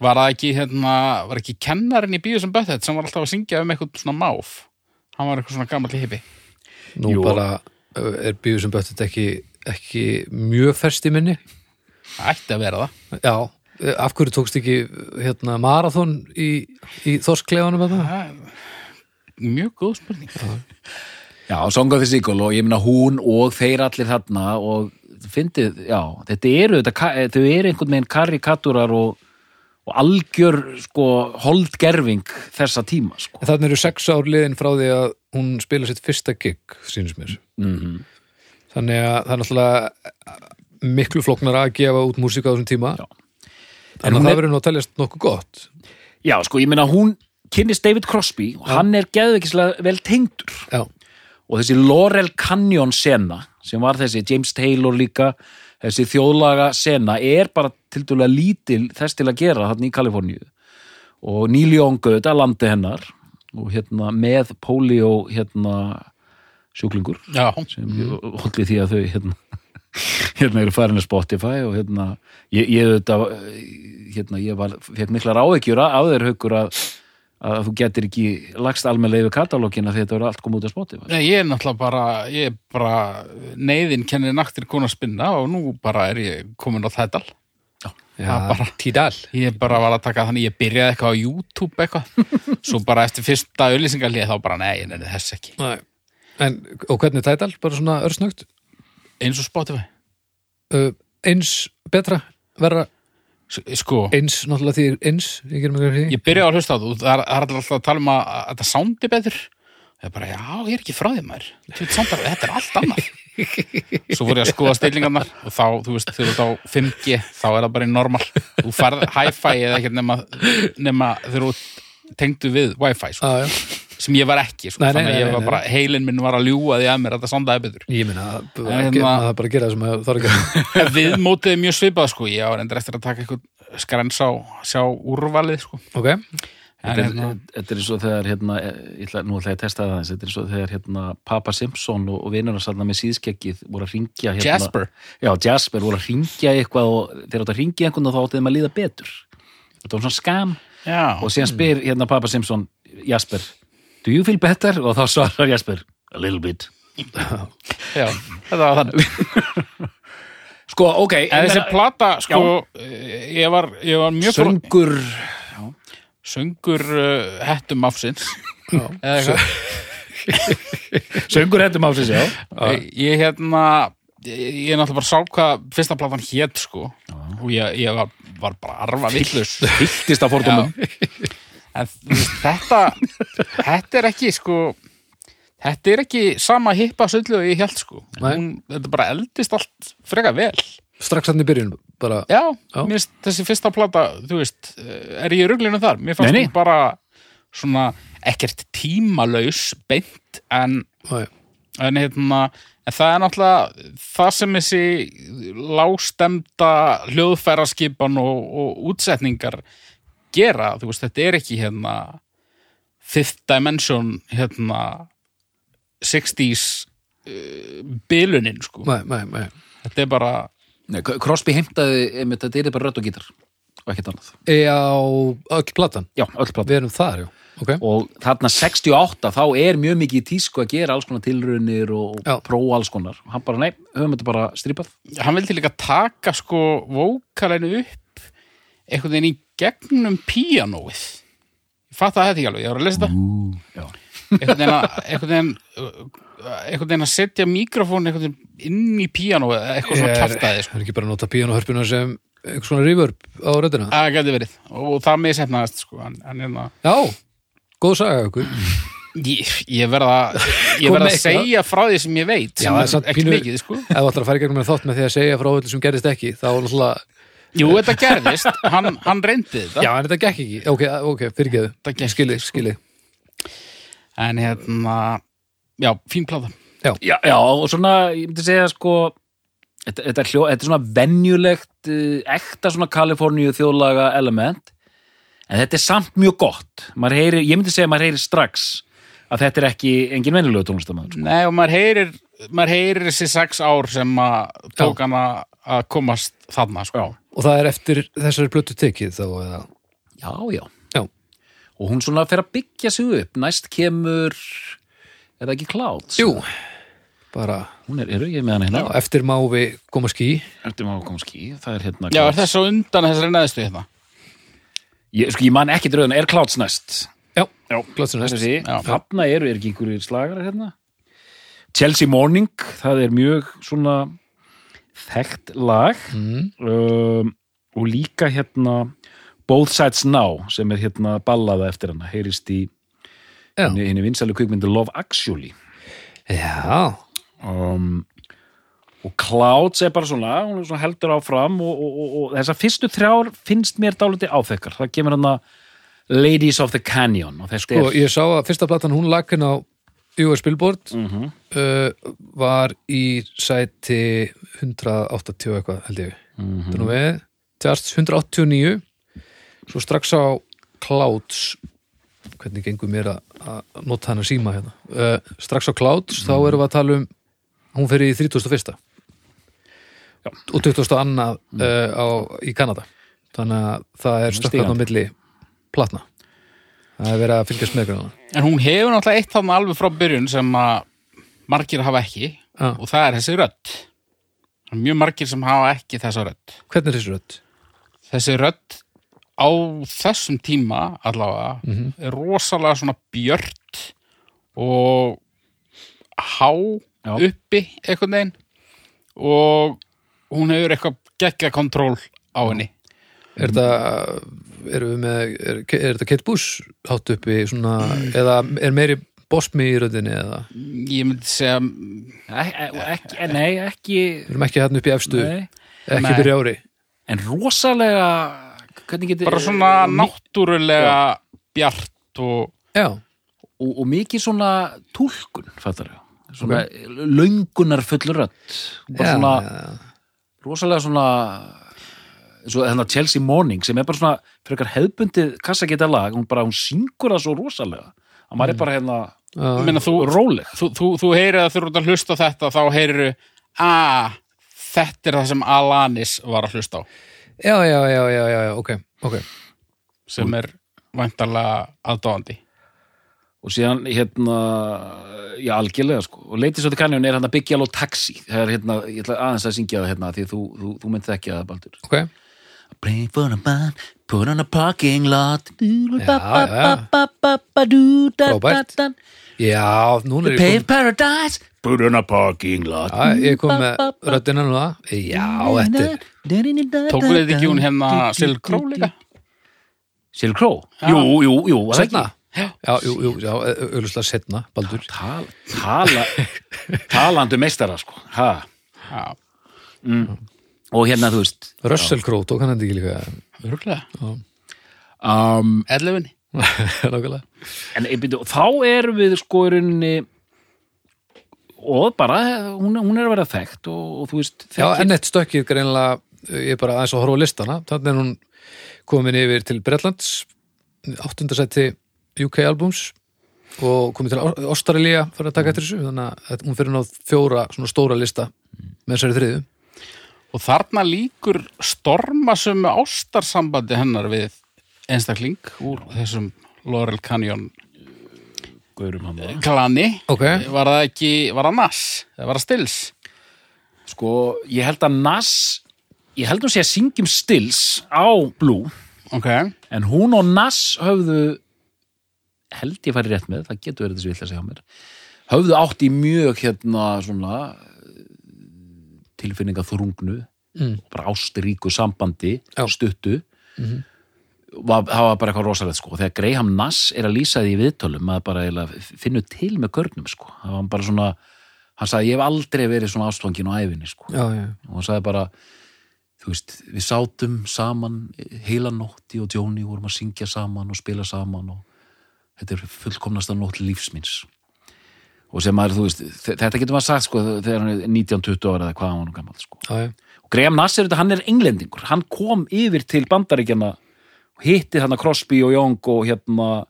Speaker 3: Var það ekki, hérna, var ekki kennarinn í bíu sem Böttet sem var alltaf að syngja um eitthvað svona máf? Hann var eitthvað svona gammal hippi.
Speaker 1: Nú
Speaker 2: Jú.
Speaker 1: bara uh, er bíu sem böttið ekki, ekki mjög ferst í minni
Speaker 3: Það ætti að vera það.
Speaker 1: Já, eh, af hverju tókst ekki hérna marathon í, í þorskleifanum að það?
Speaker 3: það er mjög góð spurning.
Speaker 2: já, Song of the Seagull og ég meina hún og þeir allir þarna og fyndið, já, þetta eru þetta, ka- þau eru einhvern veginn karikaturar og, og algjör sko, holdgerfing þessa tíma sko.
Speaker 1: En þannig eru sex ár liðin frá því að hún spila sitt fyrsta gig, sínst mér.
Speaker 2: mm
Speaker 1: Þannig að það er náttúrulega miklu flóknar að gefa út músík á þessum tíma.
Speaker 2: Já. En
Speaker 1: Þannig að
Speaker 2: hún er-
Speaker 1: það verður nú að teljast nokkuð gott.
Speaker 2: Já, sko, ég meina hún kynnist David Crosby og hann er geðveikislega vel tengdur
Speaker 1: Já,
Speaker 2: og þessi Laurel Canyon sena sem var þessi James Taylor líka þessi þjóðlaga sena er bara til dæla lítil þess til að gera þarna í Kaliforníu og Neil Young auðvitað landi hennar og hérna með polio hérna sjúklingur
Speaker 3: Já,
Speaker 2: sem mm. hollið því að þau hérna, *laughs* hérna eru farin að Spotify og hérna ég, ég auðvitað hérna ég var, fekk miklar áhyggjur á þeir haukur að, að þú getur ekki lagst almennlega yfir katalógina því þetta eru allt komið út á Spotify
Speaker 3: Nei, ég er náttúrulega bara, ég er bara neyðin kennir naktir kona spinna og nú bara er ég komin á þættal.
Speaker 1: Já
Speaker 3: Það bara-
Speaker 1: tídal.
Speaker 3: Ég bara var að taka þannig, ég byrjaði eitthvað á YouTube eitthvað, svo bara eftir fyrsta auðlýsingarlið þá bara, nei, ég nefnir þess ekki.
Speaker 1: Nei. En, og hvernig tædal? Bara svona örsnögt?
Speaker 3: Eins og Spotify.
Speaker 1: Uh, eins betra, verra
Speaker 3: S- Sko,
Speaker 1: eins, náttúrulega því er eins, ég gerum ekki því.
Speaker 3: ég byrjaði að hlusta á þú, það er það er alltaf að tala um að, að þetta soundi betur. Það er bara, já, ég er ekki frá því maður. Tjótt soundar, þetta er allt annað. Svo voru ég að skoða stillingarnar og þá, þú veist, þegar þú ert á 5G, þá er það bara í normal. Þú farð hi-fi eða ekkert nema, nema þegar þú tengdu við Wi-Fi, sko,
Speaker 1: Já, já.
Speaker 3: sem ég var ekki. Sko,
Speaker 1: Ah. Nei, nei,
Speaker 3: þannig að
Speaker 1: nei,
Speaker 3: ég var
Speaker 1: nei,
Speaker 3: bara, heilin minn var að ljúga því að mér að þetta soundaði betur.
Speaker 1: Ég meina, að-
Speaker 3: En
Speaker 1: að-
Speaker 3: hérna-
Speaker 1: að það bara að gera það sem það þarf að gera.
Speaker 3: *laughs* En Við mótiði mjög svipað, sko, ég á reyndar eftir að taka eitthvað skrens á, sjá úrvalið, sko.
Speaker 1: Ok,
Speaker 3: En,
Speaker 2: Þetta
Speaker 3: hérna,
Speaker 2: er- þetta er eins og þegar hérna, ég ætla, nú ætla ég að testa það aðeins, þetta er eins og þegar hérna Papa Simpson og, og vinur hans þarna með síðskeggið voru að ringja hérna,
Speaker 3: Jasper.
Speaker 2: Já, Jasper voru að ringja eitthvað og þegar þetta ringja einhvern og þá átti þeim að líða betur Þetta var svona skam
Speaker 3: Já,
Speaker 2: og síðan spyr hérna Papa Simpson Jasper, do you feel better? og þá svarar Jasper, a little bit
Speaker 3: já, þetta var þannig.
Speaker 2: *laughs* sko, ok,
Speaker 3: En þessi
Speaker 2: meina,
Speaker 3: plata, sko, ég var, ég var mjög fór-
Speaker 2: söngur
Speaker 3: söngur uh, hettum afsins. Eða eitthvað.
Speaker 2: söngur hættum á sig já
Speaker 3: Ég- ég hérna ég ég náttúrulega bara sá hvað fyrsta platan hét sko og ég, ég var, var bara arfa
Speaker 2: *laughs*
Speaker 3: villus
Speaker 2: fylltist af fordómum
Speaker 3: en þú veist, þetta þetta er ekki sko þetta er ekki sama hippa söllu og ég held sko
Speaker 1: Nei.
Speaker 3: Hún, þetta bara eldist allt freka vel
Speaker 1: strax hann í byrjun bara,
Speaker 3: já,
Speaker 1: Já.
Speaker 3: mér finnst þessi fyrsta plata þú veist, eh, er ég í ruglinu þar mér fannst
Speaker 2: Nei, nei.
Speaker 3: hún bara svona ekkert tímalaus beint en
Speaker 1: já,
Speaker 3: en hérna en það er náttúrulega það sem þessi lástemda hljóðfæraskipan og, og útsetningar gera, þú veist, þetta er ekki hérna fifth dimension hérna 60s uh, bilunin, sko
Speaker 1: nei, nei, nei
Speaker 3: þetta er bara,
Speaker 2: Nei, Crosby heimtaði, einmitt, þetta er bara rödd og gítar og ekkert annað
Speaker 1: Já, E öll platan,
Speaker 2: Já, öll plata.
Speaker 1: við erum þar, já ok,
Speaker 2: Og þarna 68, þá er mjög mikið í tísku að gera alls konar tilraunir og
Speaker 1: Já.
Speaker 2: prófa alls konar. Og Hann bara, nei, höfum þetta bara strípað.
Speaker 3: hann vildi líka taka sko vókalinu upp einhvern veginn í gegnum píanóið ég fatt að þetta ekki alveg, ég var að lesa þetta
Speaker 2: Ú, já.
Speaker 3: einhvern veginn að- einhvern veginn, uh, einhvern veginn að setja mikrofón einhvern veginn inn í píanó eða eitthvað svona kjartaði sko.
Speaker 1: er ekki bara að nota píanuhörpuna sem einhvers konar reverb á röddina
Speaker 3: það gæti verið og það með setnaðist sko. en, en hérna,
Speaker 1: Já, góð saga okkur
Speaker 3: ég, ég
Speaker 1: *laughs*
Speaker 3: verða ég
Speaker 1: Kom
Speaker 3: verða
Speaker 1: með
Speaker 3: að
Speaker 1: eitthvað.
Speaker 3: segja frá því sem ég veit sem
Speaker 1: það
Speaker 3: er
Speaker 1: er samt
Speaker 3: ekki
Speaker 1: pínu-
Speaker 3: mikið sko.
Speaker 1: Ef þú ætlar að fara í gegnum með þátt með því að segja frá öllu sem gerist ekki þá náttúrulega
Speaker 3: Jú, þetta gerðist, hann, hann reyndi þetta
Speaker 1: Já, en þetta gekk ekki. Ok, ok, fyrirgeðu.
Speaker 3: Þetta gekk
Speaker 1: Skilið, skilið.
Speaker 3: En hérna, já, fín plata
Speaker 2: já, já, og svona, ég myndi segja sko þetta, þetta, er, hljó, þetta er svona venjulegt eh, ekta svona Kaliforníu þjóðlaga element en þetta er samt mjög gott Maður heyri, ég myndi segja að maður heyri strax að þetta er ekki engin sko. venjulegu tónlistamæður
Speaker 3: Nei, og maður heyrir, maður heyrir þessi sex ár sem að tók hann að að komast þarna, sko
Speaker 1: Og það er eftir þessari plötu tekið þá eða...
Speaker 2: já, já,
Speaker 1: Já,
Speaker 2: og hún svona fer að byggja sig upp næst kemur er það ekki Clouds?
Speaker 1: jú. Bara,
Speaker 2: hún er, eru ég með hana
Speaker 1: já,
Speaker 2: hérna?
Speaker 1: eftir mávi koma ský.
Speaker 2: Ertu maður að koma ský? Það er hérna
Speaker 3: Já, er
Speaker 2: Clouds.
Speaker 3: þess á undan þessari neðstu hérna?
Speaker 2: Ég, sko, ég man ekki dröðuna, er Clouds næst?
Speaker 1: Já,
Speaker 2: Já,
Speaker 1: Glotsin
Speaker 2: Þessi,
Speaker 1: næst.
Speaker 2: sí.
Speaker 3: Já.
Speaker 2: þarna eru, er ekki einhverjir slagarar hérna Chelsea Morning það er mjög svona þekkt lag mm.
Speaker 3: Mhm.
Speaker 2: og líka hérna Both Sides Now sem er hérna ballaða eftir hana, heyrist í
Speaker 1: Já.
Speaker 2: henni henni vinsælu kvikmyndu Love Actually
Speaker 1: Já,
Speaker 2: um, og Clouds er bara svona, hún er svona heldur áfram og, og, og, og þessar fyrstu þrjár finnst mér dálítið áþekkar, það kemur hana Ladies of the Canyon og þetta
Speaker 1: sko,
Speaker 2: er
Speaker 1: ég sá að fyrsta platan hún lakin á US Billboard uh, var í sæti 180 eitthvað held ég mm -hmm. við, tjast 189 svo strax á Clouds hvernig gengur mér að- að nota hann að síma hérna uh, strax á Clouds þá erum við að tala um hún fyrir í 31.
Speaker 2: Já. Mm.
Speaker 1: og 22. annað uh, á, í Kanada þannig að það er stökkarn á
Speaker 2: Stígandi.
Speaker 1: milli platna það er verið að fylgjast með grunna
Speaker 3: En hún hefur náttúrulega eitt þarna alveg frá byrjun sem að margir hafa ekki
Speaker 1: Já.
Speaker 3: og það er þessi rödd Það er Mjög margir sem hafa ekki þessa rödd
Speaker 1: hvernig er þessi rödd?
Speaker 3: Þessi rödd á þessum tíma allavega er rosalega svona björt og há
Speaker 2: Já.
Speaker 3: uppi einhvern veginn og hún hefur eitthvað geggja kontról á henni
Speaker 2: Mm.
Speaker 1: Er þetta, erum við með, er, er þetta Kate Bush hátt uppi svona,
Speaker 2: Mm.
Speaker 1: eða er meiri Bosmi í röðinni eða,
Speaker 3: Ég myndi segja
Speaker 2: Ek- ek- ek- Nei, e, ekki
Speaker 1: við erum ekki hérna uppi í efstu,
Speaker 2: nei.
Speaker 1: ekki
Speaker 3: Nei.
Speaker 1: byrja ári.
Speaker 2: En rosalega Hvernig getur
Speaker 3: bara svona náttúrulega bjart og
Speaker 1: Já,
Speaker 2: og, og mikið svona túlkun Fattar þau Svona löngunar fullur rödd Bara
Speaker 1: já,
Speaker 2: svona
Speaker 1: já,
Speaker 2: rosalega svona Svo þennan Chelsea Morning sem er bara svona frekar hefbundið kassageta lag hún bara, hún syngur það svo rosalega að maður er bara hérna
Speaker 1: já.
Speaker 3: Menna, þú,
Speaker 2: róleg
Speaker 3: þú, þú, þú heyrið að þú ert að hlusta á þetta þá heyriru að þetta er það sem Alanis var að hlusta á
Speaker 1: já, já, já, já, já, já, ok, ok.
Speaker 3: sem er væntanlega aðdóðandi
Speaker 2: og síðan hérna já algjörlega sko og Ladies of the Canyon er hérna Big Yellow Taxi það er hérna, ég ætla aðeins að syngja það hérna því að þú, þú, þú mynd þekki það baldur
Speaker 1: Ok,
Speaker 2: Pray for a man, put on a parking lot
Speaker 1: já. Frábært.
Speaker 2: Frábært
Speaker 1: já, núna er ég
Speaker 2: Pave
Speaker 1: kom,
Speaker 2: paradise, put on a parking lot
Speaker 1: að, ég kom með röddina núna, já, þetta er,
Speaker 3: Tókuð þetta ekki hún hérna Sil Kró líka?
Speaker 2: Sil Kró? Jú, jú, jú hérna. var það
Speaker 1: setna,
Speaker 2: ekki?
Speaker 1: já, jú, jú, já, auðvitað setna, Baldur.
Speaker 2: Tal, tala, talandi meistara sko ha.
Speaker 3: Já,
Speaker 2: og hérna þú veist
Speaker 1: Russell Crowe, tók hann þetta ekki líka, *laughs*
Speaker 3: örgulega
Speaker 2: um,
Speaker 3: Ellefinni
Speaker 1: nákvæmlega.
Speaker 2: En ég byrju, þá erum við sko í rauninni og bara, hún, hún er að vera þekkt og, og þú veist,
Speaker 1: Já,
Speaker 2: þekkt
Speaker 1: ennett stökkið greinlega, ég er bara aðeins að horfa á listana, þannig er hún komin yfir til Bretlands, áttundasætti UK albums og komin til Ástralía fyrir að taka eftir þessu, þannig að hún fyrir náð fjóra svona stóra lista með þessari þriðu.
Speaker 3: Og þarna líkur stormasömu ástarsambandi hennar við einstakling úr þessum Laurel Canyon
Speaker 2: gaurum hann það.
Speaker 3: klani
Speaker 1: Ok,
Speaker 3: Var það ekki, var það Nas? Það var það Stills?
Speaker 2: Sko, ég held að Nas, ég held hún sé að syngjum Stills á Blue,
Speaker 3: Ok,
Speaker 2: en hún og Nas höfðu, held ég færi rétt með, það getur verið þessi vill að segja á mér, höfðu átt í mjög hérna svona eh, tilfinninga þrungnu,
Speaker 1: Mm.
Speaker 2: bara ástríku sambandi,
Speaker 1: Já. Mhm.
Speaker 2: stuttu, var, það var bara eitthvað rosalegt sko og þegar Graham Nass er að lýsa því í viðtölum maður bara eiginlega finnur til með görnum sko það var bara svona hann sagði ég hef aldrei verið svona ástfangin á æfinni sko
Speaker 1: já, já,
Speaker 2: og hann sagði bara þú veist, við sátum saman heila nótti og Jóni vorum að syngja saman og spila saman og þetta er fullkomnasta nótt lífsmins og sem maður, þú veist, þe- þetta getur maður sagt sko þegar hann er 19-20 ára eða hvað hann var nú gammal sko.
Speaker 1: já, já.
Speaker 2: og Graham Nassar, þetta, hann er englendingur hann kom yfir til bandaríkjana og hitti hann að Crosby og Young og hérna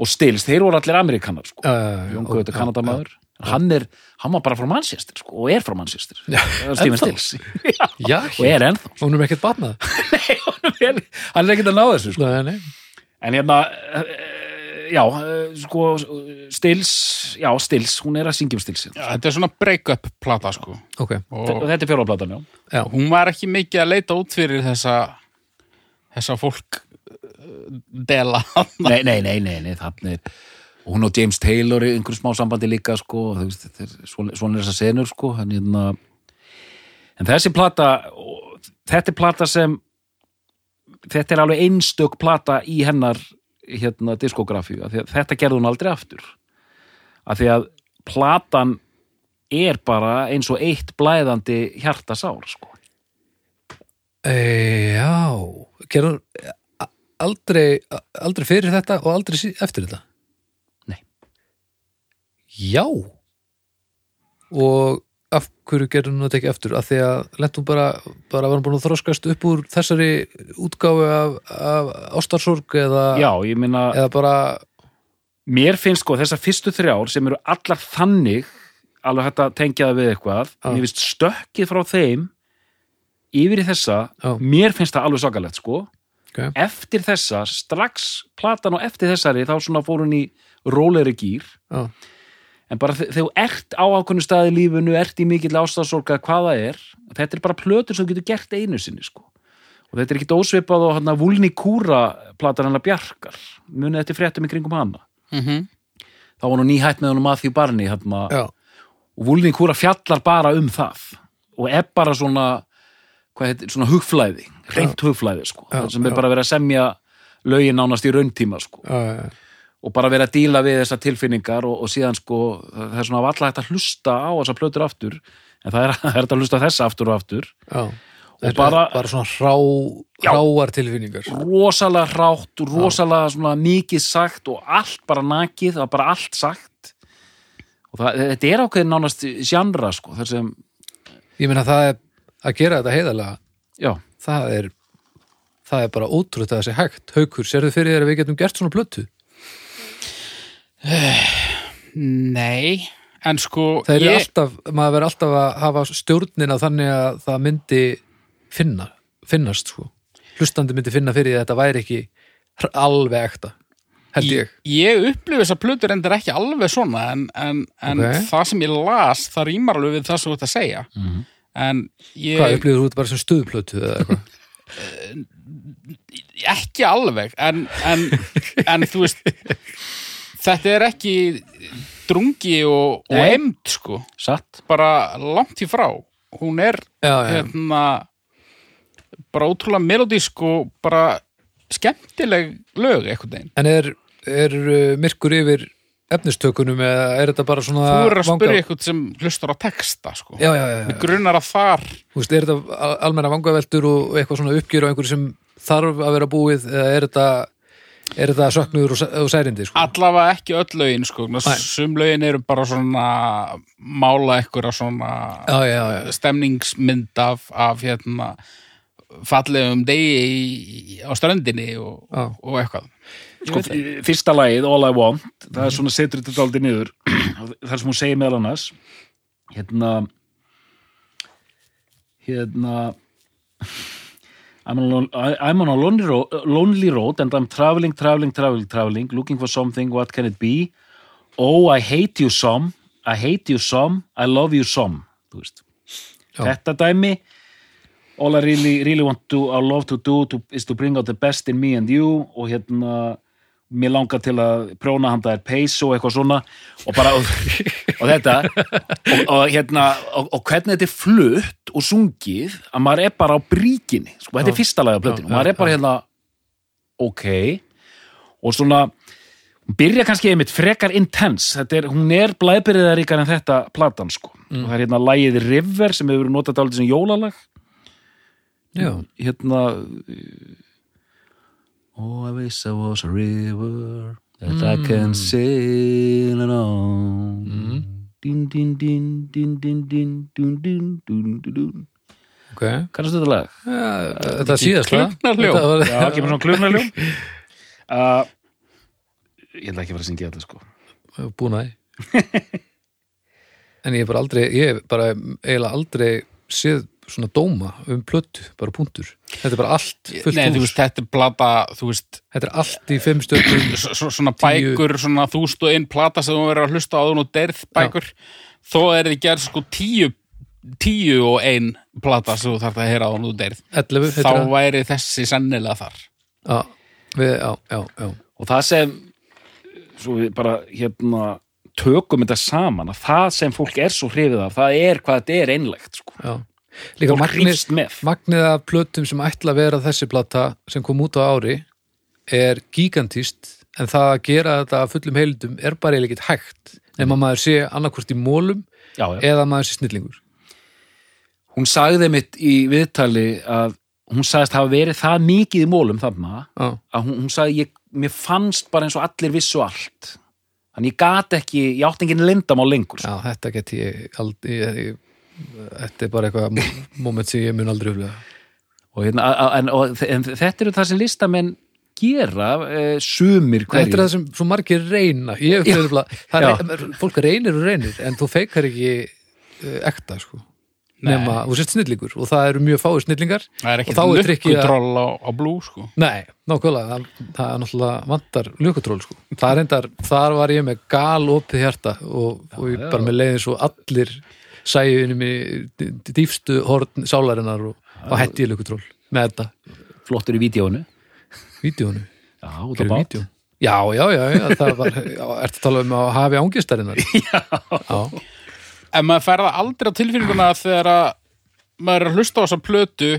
Speaker 2: og Stills, þeir voru allir amerikanar sko.
Speaker 1: Já, já, já, já.
Speaker 2: Young og þetta
Speaker 1: Já,
Speaker 2: kanadamaður hann er, hann var bara frá Manchester sko, og er frá Manchester, Stephen
Speaker 1: ennþá?
Speaker 2: Stills já,
Speaker 1: Já,
Speaker 2: og er *laughs* ennþá
Speaker 1: og hún er ekkert batnað
Speaker 2: Nei, honum er, hann er ekkert að ná þessu sko.
Speaker 1: Nei, nei,
Speaker 2: en hérna eh, já, eh, sko Stils, já, Stils, hún er að syngja um Stils
Speaker 3: Já, þetta er svona break-up plata sko
Speaker 1: ok
Speaker 2: og
Speaker 3: og
Speaker 2: þetta er fjóraplatan, já
Speaker 1: Já,
Speaker 3: hún var ekki mikið að leita út fyrir þessa þessa fólk eh, dela *laughs*
Speaker 2: nei, nei, nei, nei, nei þannig er og hún og James Taylor í einhverjum smá sambandi líka sko, og þú veist, þetta er- svona svona er þessar senur sko, en, hérna, en þessi plata og þetta er plata sem þetta er alveg einstök plata í hennar hérna, diskografíu, af því að þetta gerði hún aldrei aftur af því að platan er bara eins og eitt blæðandi hjartasár sko.
Speaker 1: e, já Gerður aldrei, aldrei fyrir þetta og aldrei sí- eftir þetta
Speaker 2: Nei.
Speaker 1: Já Og af hverju gerður hún þetta ekki eftir af því að lentum bara, bara var hún búin að þroskast upp úr þessari útgáfu af, af ástarsorg eða,
Speaker 2: já, ég meina
Speaker 1: eða bara
Speaker 2: mér finnst sko þessar fyrstu þrjár sem eru allar þannig alveg hægt að tengja það við eitthvað
Speaker 1: Já.
Speaker 2: mér finnst stökkið frá þeim yfir í þessa
Speaker 1: Já.
Speaker 2: mér finnst það alveg sakalegt sko
Speaker 1: Ok.
Speaker 2: eftir þessa, strax platan og eftir þessari þá svona fór hún í róleri gýr
Speaker 1: Já.
Speaker 2: en bara þe- þegar þú ert á ákveðnu staði í lífinu ert í mikill ástafsorga hvað það er þetta er bara plötur sem þú getur gert einu sinni sko og þetta er ekkit ósvipað og hann að Vulni Kúra platan hennar Bjarkar munið þetta fréttum í kringum hana
Speaker 3: mm -hmm.
Speaker 2: þá var nú nýhætt með honum Matthew Barney hérna,
Speaker 1: Já,
Speaker 2: og Vulning Kúra fjallar bara um það og er bara svona hvað heitir, svona hugflæði reynt hugflæði sko,
Speaker 1: Já,
Speaker 2: þar sem
Speaker 1: já.
Speaker 2: er bara verið að semja lögin nánast í rauntíma sko
Speaker 1: já, já,
Speaker 2: og bara verið að díla við þessar tilfinningar og, og síðan sko, það er svona alltaf hægt að hlusta á þessar plötur aftur en það er, það er hægt að hlusta á þessa aftur og aftur
Speaker 1: já.
Speaker 2: Og
Speaker 1: Þetta er
Speaker 2: bara-
Speaker 1: bara svona rá,
Speaker 2: Já.
Speaker 1: ráar tilfinningar
Speaker 2: rosalega hrátt og rosalega svona mikið sagt og allt bara nakið, það er bara allt sagt og það, þetta er ákveðin nánast sjandra sko, þar sem
Speaker 1: Ég meina það er að gera þetta heiðalega
Speaker 2: já,
Speaker 1: það er það er bara ótrútt að það sé hægt Haukur, sérðu fyrir þér að við getum gert svona plötu?
Speaker 3: Nei, en sko
Speaker 1: Það er
Speaker 3: ég,
Speaker 1: alltaf, maður verður alltaf að hafa stjórnina þannig að það myndi finna, finnast sko hlustandi myndi finna fyrir því að þetta væri ekki hr- alveg ekta held ég,
Speaker 3: ég upplifu þessar plötur endur ekki alveg svona en, en, en
Speaker 1: Ok. Mhm.
Speaker 3: það sem ég las það rýmar alveg við það sem þú ert að segja en ég
Speaker 1: hvað upplýður þú þetta bara sem stuðplötu eða eitthvað,
Speaker 3: ekki alveg en, en, en þú veist þetta er ekki drungi og, og
Speaker 2: Nei.
Speaker 3: emd sko,
Speaker 2: satt
Speaker 3: bara langt í frá hún er
Speaker 1: já, já,
Speaker 3: hérna bara ótrúlega melodísk og bara skemmtileg lög einhvern veginn
Speaker 1: en er, er uh, myrkur yfir efnistökunum eða er þetta bara svona
Speaker 3: þú eru að
Speaker 1: vanga-
Speaker 3: spyrja einhvern sem hlustar á texta sko,
Speaker 1: já, já, já, já.
Speaker 3: Mig grunar að þar
Speaker 1: Þú veist, er þetta al- almenna vangaveltur og eitthvað svona uppgjur á einhverju sem þarf að vera búið eða er þetta, er þetta söknuður og, sæ- og særindi sko?
Speaker 3: allavega ekki öll lögin sko,
Speaker 1: Nei.
Speaker 3: sum lögin eru bara svona mála einhverja svona
Speaker 1: Já, já, já,
Speaker 3: stemningsmynd af, af hérna fallegum degi í, í, á ströndinni og,
Speaker 1: Já.
Speaker 3: og eitthvað
Speaker 2: sko, fyrsta lagið, All I Want það er svona setur þetta aldrei niður *clears throat* þar sem hún segir meðal annars hérna hérna I'm on, a lon- I- I'm on a lonely road, lonely road and I'm traveling, traveling, traveling, traveling looking for something, what can it be oh, I hate you some I hate you some, I love you some þú veist
Speaker 1: Já.
Speaker 2: þetta dæmi all I really, really want to, I love to do to, is to bring out the best in me and you og hérna mér langar til að prjóna handa þér peysu og eitthvað svona og bara og, og þetta og, og hérna og, og hvernig þetta er flutt og sungið að maður er bara á bríkinni sko, þetta er fyrsta lagið á plötinu,
Speaker 1: Já, já,
Speaker 2: maður er bara
Speaker 1: já.
Speaker 2: hérna ok og svona hún byrja kannski einmitt frekar intense Þetta er, hún er blæðbyrðaríkar en þetta
Speaker 1: Mm.
Speaker 2: platan sko og það er hérna lagið River sem hefur verið notað dálítið sem jólalag
Speaker 1: Já.
Speaker 2: hérna uh, Oh, I wish I was a river that I can sail along Din, din, din, din, din, din, dun, dun, dun, dun, dun
Speaker 1: ok ja,
Speaker 2: Kannastu þetta lag?
Speaker 1: Þetta er síðast
Speaker 3: klugnarljó.
Speaker 1: *laughs*
Speaker 2: Já, kemur svona *laughs* klunarljum uh, Ég ætla ekki að fara að syngja þetta sko
Speaker 1: Búin að því En ég hef bara aldrei Ég hef bara eiginlega aldrei séð svona dóma um plötu, bara punktur Þetta er bara allt fullt
Speaker 3: Nei, þú
Speaker 1: hús
Speaker 3: veist, þetta er plata, þú veist,
Speaker 1: Þetta er allt í fimm stöðum
Speaker 3: s- s- svona bækur, svona þúst og einn plata sem þú verður að hlusta á þún og derð bækur. Þó er þið gerð sko tíu, tíu og ein plata sem þú þarf að heyra á þún og derð.
Speaker 1: 11 heitir
Speaker 3: Þá
Speaker 1: það.
Speaker 3: væri þessi sennilega þar.
Speaker 1: Já, við, já, já, já
Speaker 2: og það sem svo við bara hérna tökum þetta saman að það sem fólk er svo hrifið af það er hvað þetta er einlegt sko.
Speaker 1: Já. Líka
Speaker 2: Fólk
Speaker 1: magnið,
Speaker 2: hrífst með.
Speaker 1: magnið af plötum sem ætla að vera þessi plata sem kom út á ári er gigantíst en það að gera þetta af fullum heildum er bara eiginlega ekkert hægt nema maður sé annarkvort í mólum
Speaker 2: Mm. já, já.
Speaker 1: eða maður sé snillingur
Speaker 2: hún sagði mitt í viðtali að hún sagðist hafa verið það mikið í mólum þarna
Speaker 1: Já,
Speaker 2: að hún, hún sagði ég, mér fannst bara eins og allir vissu allt þannig ég gat ekki, ég átti enginn lindamál lengur
Speaker 1: já þetta geti ég aldrei ég, ég, þetta er bara eitthvað mo- moment sem ég mun aldrei upplifa
Speaker 2: og, hérna, a- a- en, og, en þetta eru það sem listamenn gera e, sumir hverju
Speaker 1: Þetta er það sem svo margir reyna ég, já, bara, það
Speaker 2: Já.
Speaker 1: er, e- fólk reynir og reynir en þú feikar ekki eh, ekta sko nema, þú sért snillingur og það eru mjög fáið snillingar
Speaker 3: Það er
Speaker 1: og þá er
Speaker 3: ekkert
Speaker 1: trikkið að
Speaker 3: lukkutroll á, á blú, sko.
Speaker 1: Nei, nákvæmlega, það, það er náttúrulega vantar lukutról sko. Það er reyndar, þar var ég með gal opið hjarta og, og ég bara með leiðin svo allir sæju inn í mig dýfstu horn sálarinnar og, og hætti ég lukutról með þetta,
Speaker 2: flottur í vídjónu
Speaker 1: vídjónu
Speaker 2: já, út á
Speaker 1: Gerðu
Speaker 2: bát
Speaker 1: vídeó. Já, já, já, já, það var já, ertu að tala um að hafi ángistarinnar *laughs* Já, já,
Speaker 3: en maður fær það aldrei á tilfinninguna þegar að maður er að hlusta á þessa plötu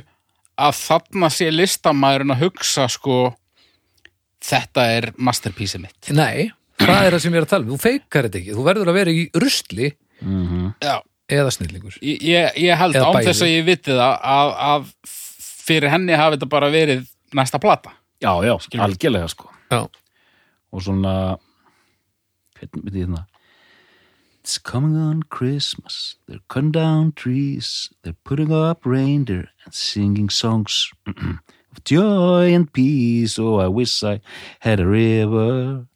Speaker 3: að þarna sé listamaðurinn að hugsa sko þetta er masterpiece mitt
Speaker 1: nei það er það sem ég er að tala um, þú feikar þetta ekki þú verður að vera í rusli
Speaker 2: Mhm.
Speaker 3: Já,
Speaker 1: eða snillingur
Speaker 3: ég, ég- ég held
Speaker 1: Eða
Speaker 3: án
Speaker 1: bæði.
Speaker 3: þess að ég viti það að, að fyrir henni hafi þetta bara verið næsta plata
Speaker 2: já, já, algjörlega sko
Speaker 1: Já,
Speaker 2: og svona hvernig myndi ég hérna It's coming on Christmas They're cutting down trees They're putting up reindeer and singing songs *clears throat* of joy and peace Oh, I wish I had a river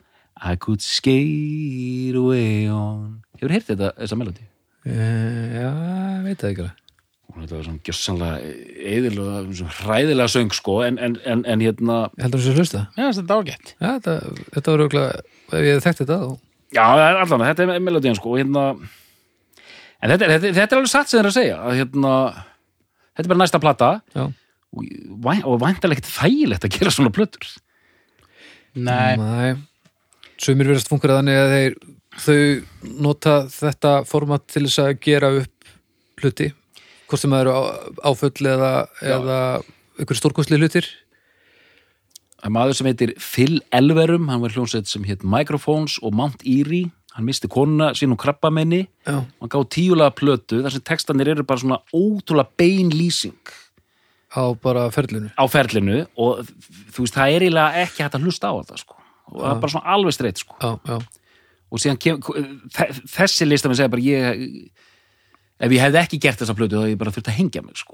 Speaker 2: I could skate away on Hefur heyrt þetta, þessa melodi?
Speaker 1: e, já, ég veit það ekki alveg.
Speaker 2: Hún þetta var svona gjössanlega eðilega, svona hræðilega söng sko, en, en, en, en hérna
Speaker 1: Ég heldur þess að hlusta
Speaker 3: Já, þetta er ágætt
Speaker 1: Já, þetta, þetta var auðvitað, ef ég hefði þekkt þetta þá
Speaker 2: Já, það er allan, þetta er melodían sko og hérna, en þetta, er- þetta, er- þetta er alveg satt sem þeir eru að segja að, hérna, þetta er bara næsta plata
Speaker 1: Já,
Speaker 2: og, væ- og væntalega ekkert þægilegt að gera svona plötur
Speaker 3: Nei,
Speaker 1: næ Sumir verðast funkar þannig að þeir þau nota þetta format til þess að gera upp hluti hvort sem það eru á- áföll eða, eða ykkur stórkostli hlutir
Speaker 2: Það er maður sem heitir Phil Elverum hann var í hljómsveit sem hétt Microphones og Mount Erie, hann misti konuna sín og krabbamenni
Speaker 1: Já,
Speaker 2: og hann gáði tíulega plötu þar sem textanir eru bara svona ótrúlega bein lýsing
Speaker 1: á bara ferlinu
Speaker 2: á ferlinu og þú veist, það er eiginlega ekki hægt að hlusta á þetta sko og það er bara svona alveg streitt sko
Speaker 1: Já, já,
Speaker 2: og síðan kem, þe- þessi listamenn segja bara ég, ef ég hefði ekki gert þessa plötu þá hefði ég bara þurft að hengja mig sko.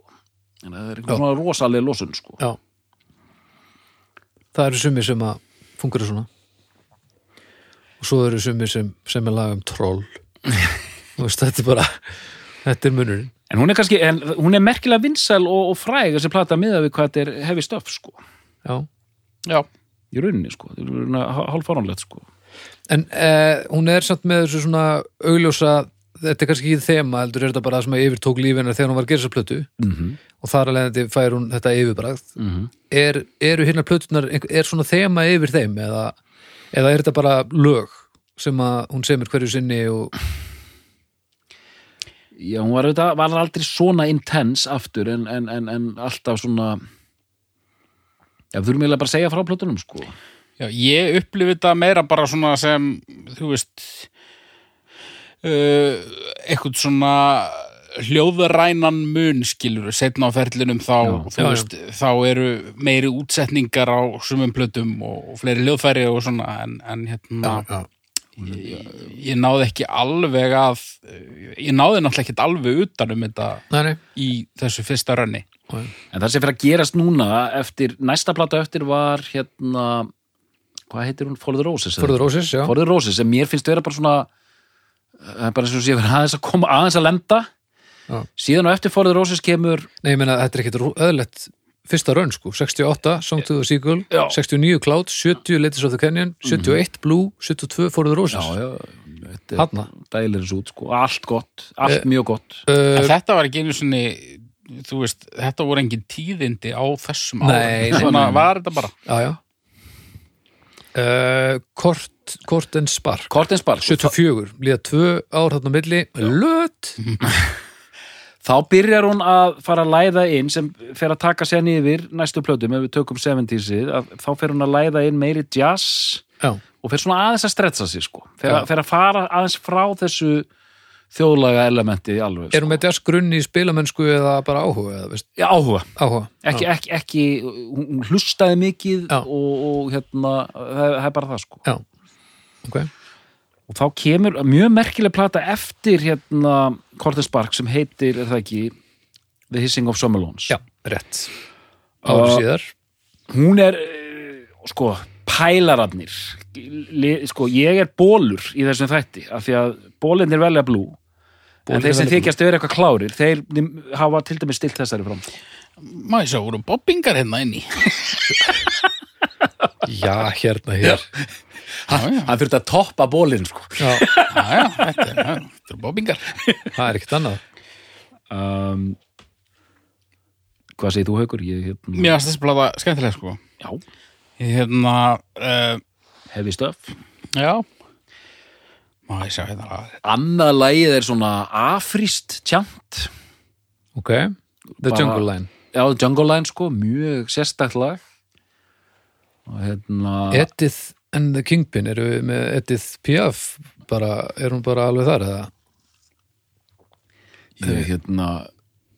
Speaker 2: en það er einhvern svona rosalega losun sko.
Speaker 1: já Það eru sumir sem að funkar svona og svo eru sumir sem, sem er laga um troll Þú veist, þetta er bara þetta er munurinn
Speaker 2: en hún er kannski, en hún er merkilega vinsæl og, og fræg þessi plata miða við hvað þetta er hefi stöf sko,
Speaker 1: Já
Speaker 3: já
Speaker 2: í rauninni sko, í rauninni hálfáranlegt sko.
Speaker 1: En uh, hún er samt með þessu svona augljósa, þetta er kannski ekki þema heldur er þetta bara það sem að yfir tók lífinu þegar hún var að gera þessa plötu
Speaker 2: Mhm.
Speaker 1: og þar alveg þetta fær hún þetta yfirbragð
Speaker 2: Mhm.
Speaker 1: er, eru hérna plötunar, einhver- er svona þema yfir þeim eða, eða er þetta bara lög sem að hún semur hverju sinni og
Speaker 2: já, hún var, auðvitað, var aldrei svona intense aftur en, en, en, en alltaf svona já, við þurfum eiginlega bara að segja frá plötunum sko.
Speaker 3: Já, ég upplifi þetta meira bara svona sem, þú veist, uh, eitthvað svona hljóðrænan mun skilur setna á ferlinum þá,
Speaker 2: Já.
Speaker 3: þú
Speaker 1: Já,
Speaker 3: veist, þá eru meiri útsetningar á sumum plötum og, og fleiri hljóðfæri og svona en, en hérna
Speaker 1: já,
Speaker 3: ég, ég náði ekki alveg að ég náði náttúrulega ekki alveg utanum þetta
Speaker 1: Nei, nei.
Speaker 3: í þessu fyrsta rönni
Speaker 2: En það sem fyrir að gerast núna eftir, næsta plata eftir var hérna, hvað heitir hún? Forður Rósis?
Speaker 1: Forður Rósis, já.
Speaker 2: Forður Rósis, sem mér finnst vera bara svona eh, bara eins og sé verið aðeins að koma aðeins að lenda
Speaker 1: Já.
Speaker 2: síðan og eftir Forður Rósis kemur
Speaker 1: Nei, ég meina, þetta er ekkit öðlegt fyrsta raun, sko. 68, Song to the Seagull,
Speaker 2: Já.
Speaker 1: 69, Cloud, 70, Ladies of the Canyon, 71, Blue, 72, Forður Rósis.
Speaker 2: já, þetta er Eh,
Speaker 1: Hanna.
Speaker 2: dælir eins út sko, allt gott, allt mjög gott
Speaker 1: Uh,
Speaker 3: en þetta var ekki einu svona þú veist, þetta voru engin tíðindi á þessum
Speaker 1: Nei,
Speaker 3: árum
Speaker 1: nei,
Speaker 3: svona
Speaker 2: nei.
Speaker 3: var þetta bara
Speaker 1: Já, já. Uh, Kort, Kort en Spark.
Speaker 2: Kortinsball,
Speaker 1: 74, líða tvö ár þarna á milli, löt.
Speaker 2: þá byrjar hún að fara að læða inn sem fer að taka sér niður næstu plötum ef við tökum 70-sið, að- þá fer hún að læða inn meiri jazz
Speaker 1: Já,
Speaker 2: og fer svona aðeins að stretsa sig sko fer,
Speaker 1: Já.
Speaker 2: að, fer að fara aðeins frá þessu þjóðlaga elementi alveg
Speaker 1: er
Speaker 2: sko.
Speaker 1: hún með þess grunni í spilamennsku eða bara áhuga, eða veist,
Speaker 2: Já, áhuga,
Speaker 1: áhuga.
Speaker 2: ekki, ekki, ekki hún hún hlustaði mikið
Speaker 1: Já.
Speaker 2: og, og hérna, það, það er bara það sko
Speaker 1: Já, ok.
Speaker 2: og þá kemur mjög merkileg plata eftir hérna Cortes Bark sem heitir, er það ekki The Hissing of Summerlones
Speaker 1: Já, rétt. Ári
Speaker 2: Og-
Speaker 1: síðar.
Speaker 2: hún er eh, sko pælarafnir sko ég er bólur í þessum þætti af því að bólinir velja blú en
Speaker 1: Bólinir
Speaker 2: þeir sem
Speaker 1: velja
Speaker 2: þykjast vera eitthvað klárir þeir nim- hafa til dæmis stilt þessari fram
Speaker 3: maður sá, voru bobbingar hérna inni
Speaker 1: Já, hérna hér.
Speaker 3: já, já,
Speaker 2: hann fyrir að toppa bólin sko
Speaker 1: Já,
Speaker 3: já, já, þetta er- já, þetta eru bobbingar
Speaker 1: það er ekkert annað.
Speaker 2: um, hvað segir þú haukur? Ég, hérna,
Speaker 3: mér varst þessi blada skemmtilega sko
Speaker 2: já,
Speaker 3: Ég hérna uh,
Speaker 2: hefði stöf
Speaker 3: já maður sá, hérna að-
Speaker 2: annað lagið er svona afríst tjant
Speaker 1: Ok, The
Speaker 2: Bara-
Speaker 1: Jungle Line.
Speaker 2: já, Jungle Line sko, mjög sérstætt lag og hérna
Speaker 1: Edith and the Kingpin, eru við með Edith Piaf, bara, er hún bara alveg þar eða?
Speaker 2: ég hérna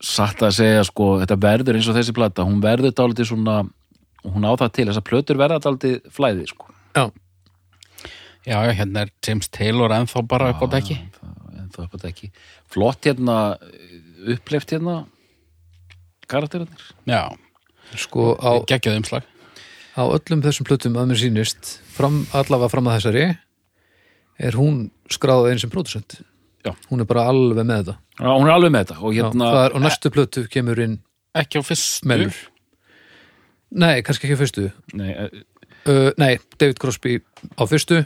Speaker 2: satt að segja sko, þetta verður eins og þessi plata, hún verður dálítið svona hún á það til, þessar plötur verða dálítið flæði sko,
Speaker 1: Já,
Speaker 3: já, já, hérna er James Taylor ennþá bara upp á dekki
Speaker 2: en það er bara ekki flott hérna, uppleift hérna karakterinir
Speaker 3: já,
Speaker 1: sko á,
Speaker 3: geggjað umslag
Speaker 1: á öllum þessum plötum að mér sýnist, fram, allavega fram að þessari, er hún skráð eins sem pródusent.
Speaker 2: Já.
Speaker 1: Hún er bara alveg með þetta.
Speaker 2: Já, hún er alveg með þetta og
Speaker 1: Já,
Speaker 2: hérna,
Speaker 1: það er, og næstu plötu kemur inn
Speaker 3: ekki á fyrstu
Speaker 1: Mellur. Nei, kannski ekki á fyrstu.
Speaker 2: nei, eh,
Speaker 1: Uh, nei, David Crosby á fyrstu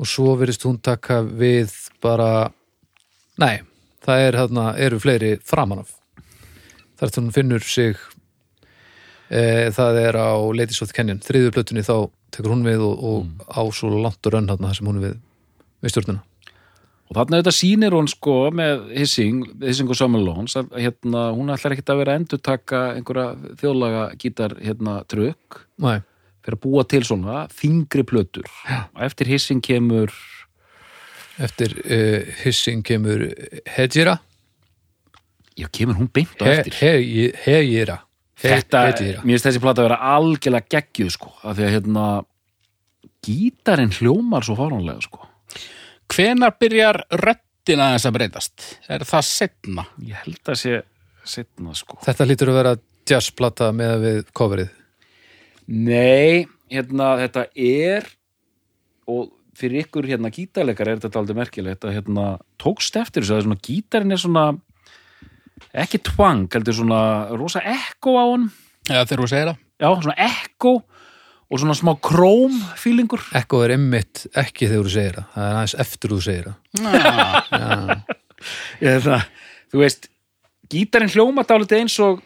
Speaker 1: og svo verðist hún taka við bara nei, það er hérna eru fleiri framan af þar til hún finnur sig e, það er á Ladies of the Canyon, þriðju plötunni þá tekur hún við og,
Speaker 2: Mm.
Speaker 1: og á svo langt og rönn þarna þar sem hún er við, við stjórnina
Speaker 2: og þarna þetta sýnir hún sko með Hissing, Hissing og Samuel Lóns að hérna, hún ætlar ekkit að vera að endurtaka einhverja þjóðlaga gítar hérna, trökk
Speaker 1: Nei,
Speaker 2: fyrir að búa til svona þingri plötur og eftir hissing kemur
Speaker 1: eftir uh, hissing kemur Hejira
Speaker 2: já, kemur hún beint á
Speaker 1: He-
Speaker 2: eftir
Speaker 1: He- Hejira He-
Speaker 2: þetta,
Speaker 1: Hejira.
Speaker 2: mér finnst þessi plata að vera algjörlega geggjuð sko, af því að hérna gítarinn hljómar svo fáránlega sko,
Speaker 3: hvenar byrjar röddin aðeins að breytast er það setna
Speaker 2: ég held að sé setna sko,
Speaker 1: Þetta lítur að vera jazzplata með að við coverið
Speaker 2: nei hérna, þetta er og fyrir ykkur hérna gítarleikar er þetta aldrei merkilegt að hérna tókst eftir þessu að svona gítarinn er svona ekki tvang, heldur svona rosa ekko á honum
Speaker 3: eða þegar þú segir það
Speaker 2: já, svona ekko og svona smá króm fílingur
Speaker 1: Ekko er einmitt ekki þegar þú segir það það er aðeins eftir þú segir það
Speaker 3: Já,
Speaker 2: Eða, þú veist, gítarinn hljóma dálítið eins og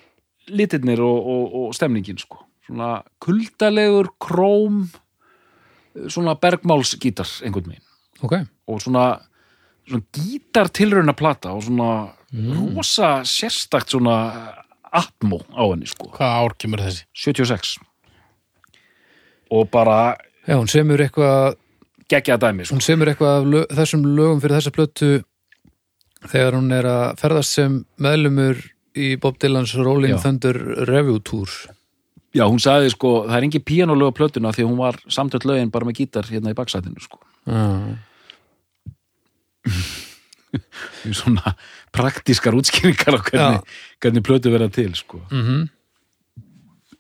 Speaker 2: litirnir og, og, og stemningin sko. svona kuldalegur króm svona bergmálsgítar einhvern veginn
Speaker 1: ok,
Speaker 2: og svona, svona gítartilrauna plata og svona rosa sérstakt svona atmó á henni sko
Speaker 3: hvað ár kemur þessi?
Speaker 2: 76 og bara
Speaker 1: já hún semur eitthvað
Speaker 2: geggja dæmi sko.
Speaker 1: hún semur eitthvað af lög, þessum lögum fyrir þessa plötu þegar hún er að ferðast sem meðlumur í Bob Dylan's Rolling
Speaker 2: Já.
Speaker 1: Thunder Review Tour
Speaker 2: Já, hún sagði sko, það er engin píanolög á plötuna því að hún var samtöld lögin bara með gítar hérna í baksætinu sko. Í *laughs* Svona praktískar útskýringar á hvernig, hvernig plötu verða til sko.
Speaker 1: mm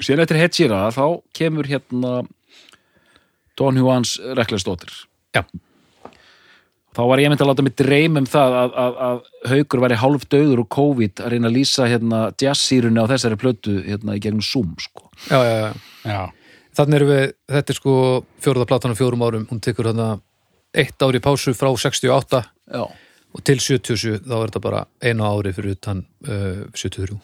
Speaker 2: Sér eftir Hedgera þá kemur hérna Don Juans Reklesdóttir.
Speaker 1: Já.
Speaker 2: Þá var ég myndi að láta mig dreyma um það að, að, að haukur væri hálf döður og COVID að reyna að lýsa hérna jazzsýrunni á þessari plötu hérna í gegnum Zoom sko.
Speaker 1: já, já, já
Speaker 3: Já,
Speaker 1: þannig erum við, þetta er sko fjórða platan á fjórum árum, hún tekur þarna eitt ári pásu frá 68
Speaker 2: Já.
Speaker 1: og til 77 þá er þetta bara einu ári fyrir utan uh, 73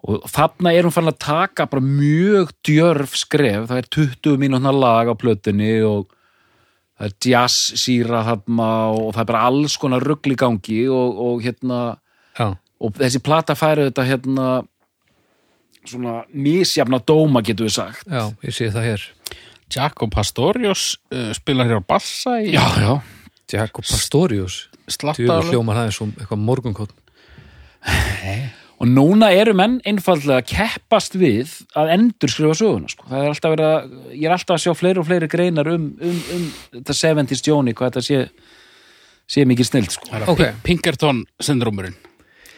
Speaker 2: og þarna er hún fann að taka bara mjög djörf skref það er 20 mínútna lag á plötunni og það er jazz síra þarna og það er bara alls konar rugl í gangi og, og hérna
Speaker 1: já,
Speaker 2: og þessi plata færi þetta hérna svona misjafna dóma getur við sagt
Speaker 1: já, ég sé það hér
Speaker 3: Jaco Pastorius uh, spilar hér á bassa í
Speaker 2: já,
Speaker 1: Jakob Pastorius
Speaker 3: slatta
Speaker 1: Djöfur hljómar það eins og eitthvað morgunkotn
Speaker 2: og núna eru menn einfaldlega að keppast við að endur skrifa söguna sko. það er alltaf verið að, ég er alltaf að sjá fleiri og fleiri greinar um, um, um þetta 70s Johnny, hvað þetta sé sé mikið snilt, sko.
Speaker 1: Ok,
Speaker 3: Pinkerton syndrómurinn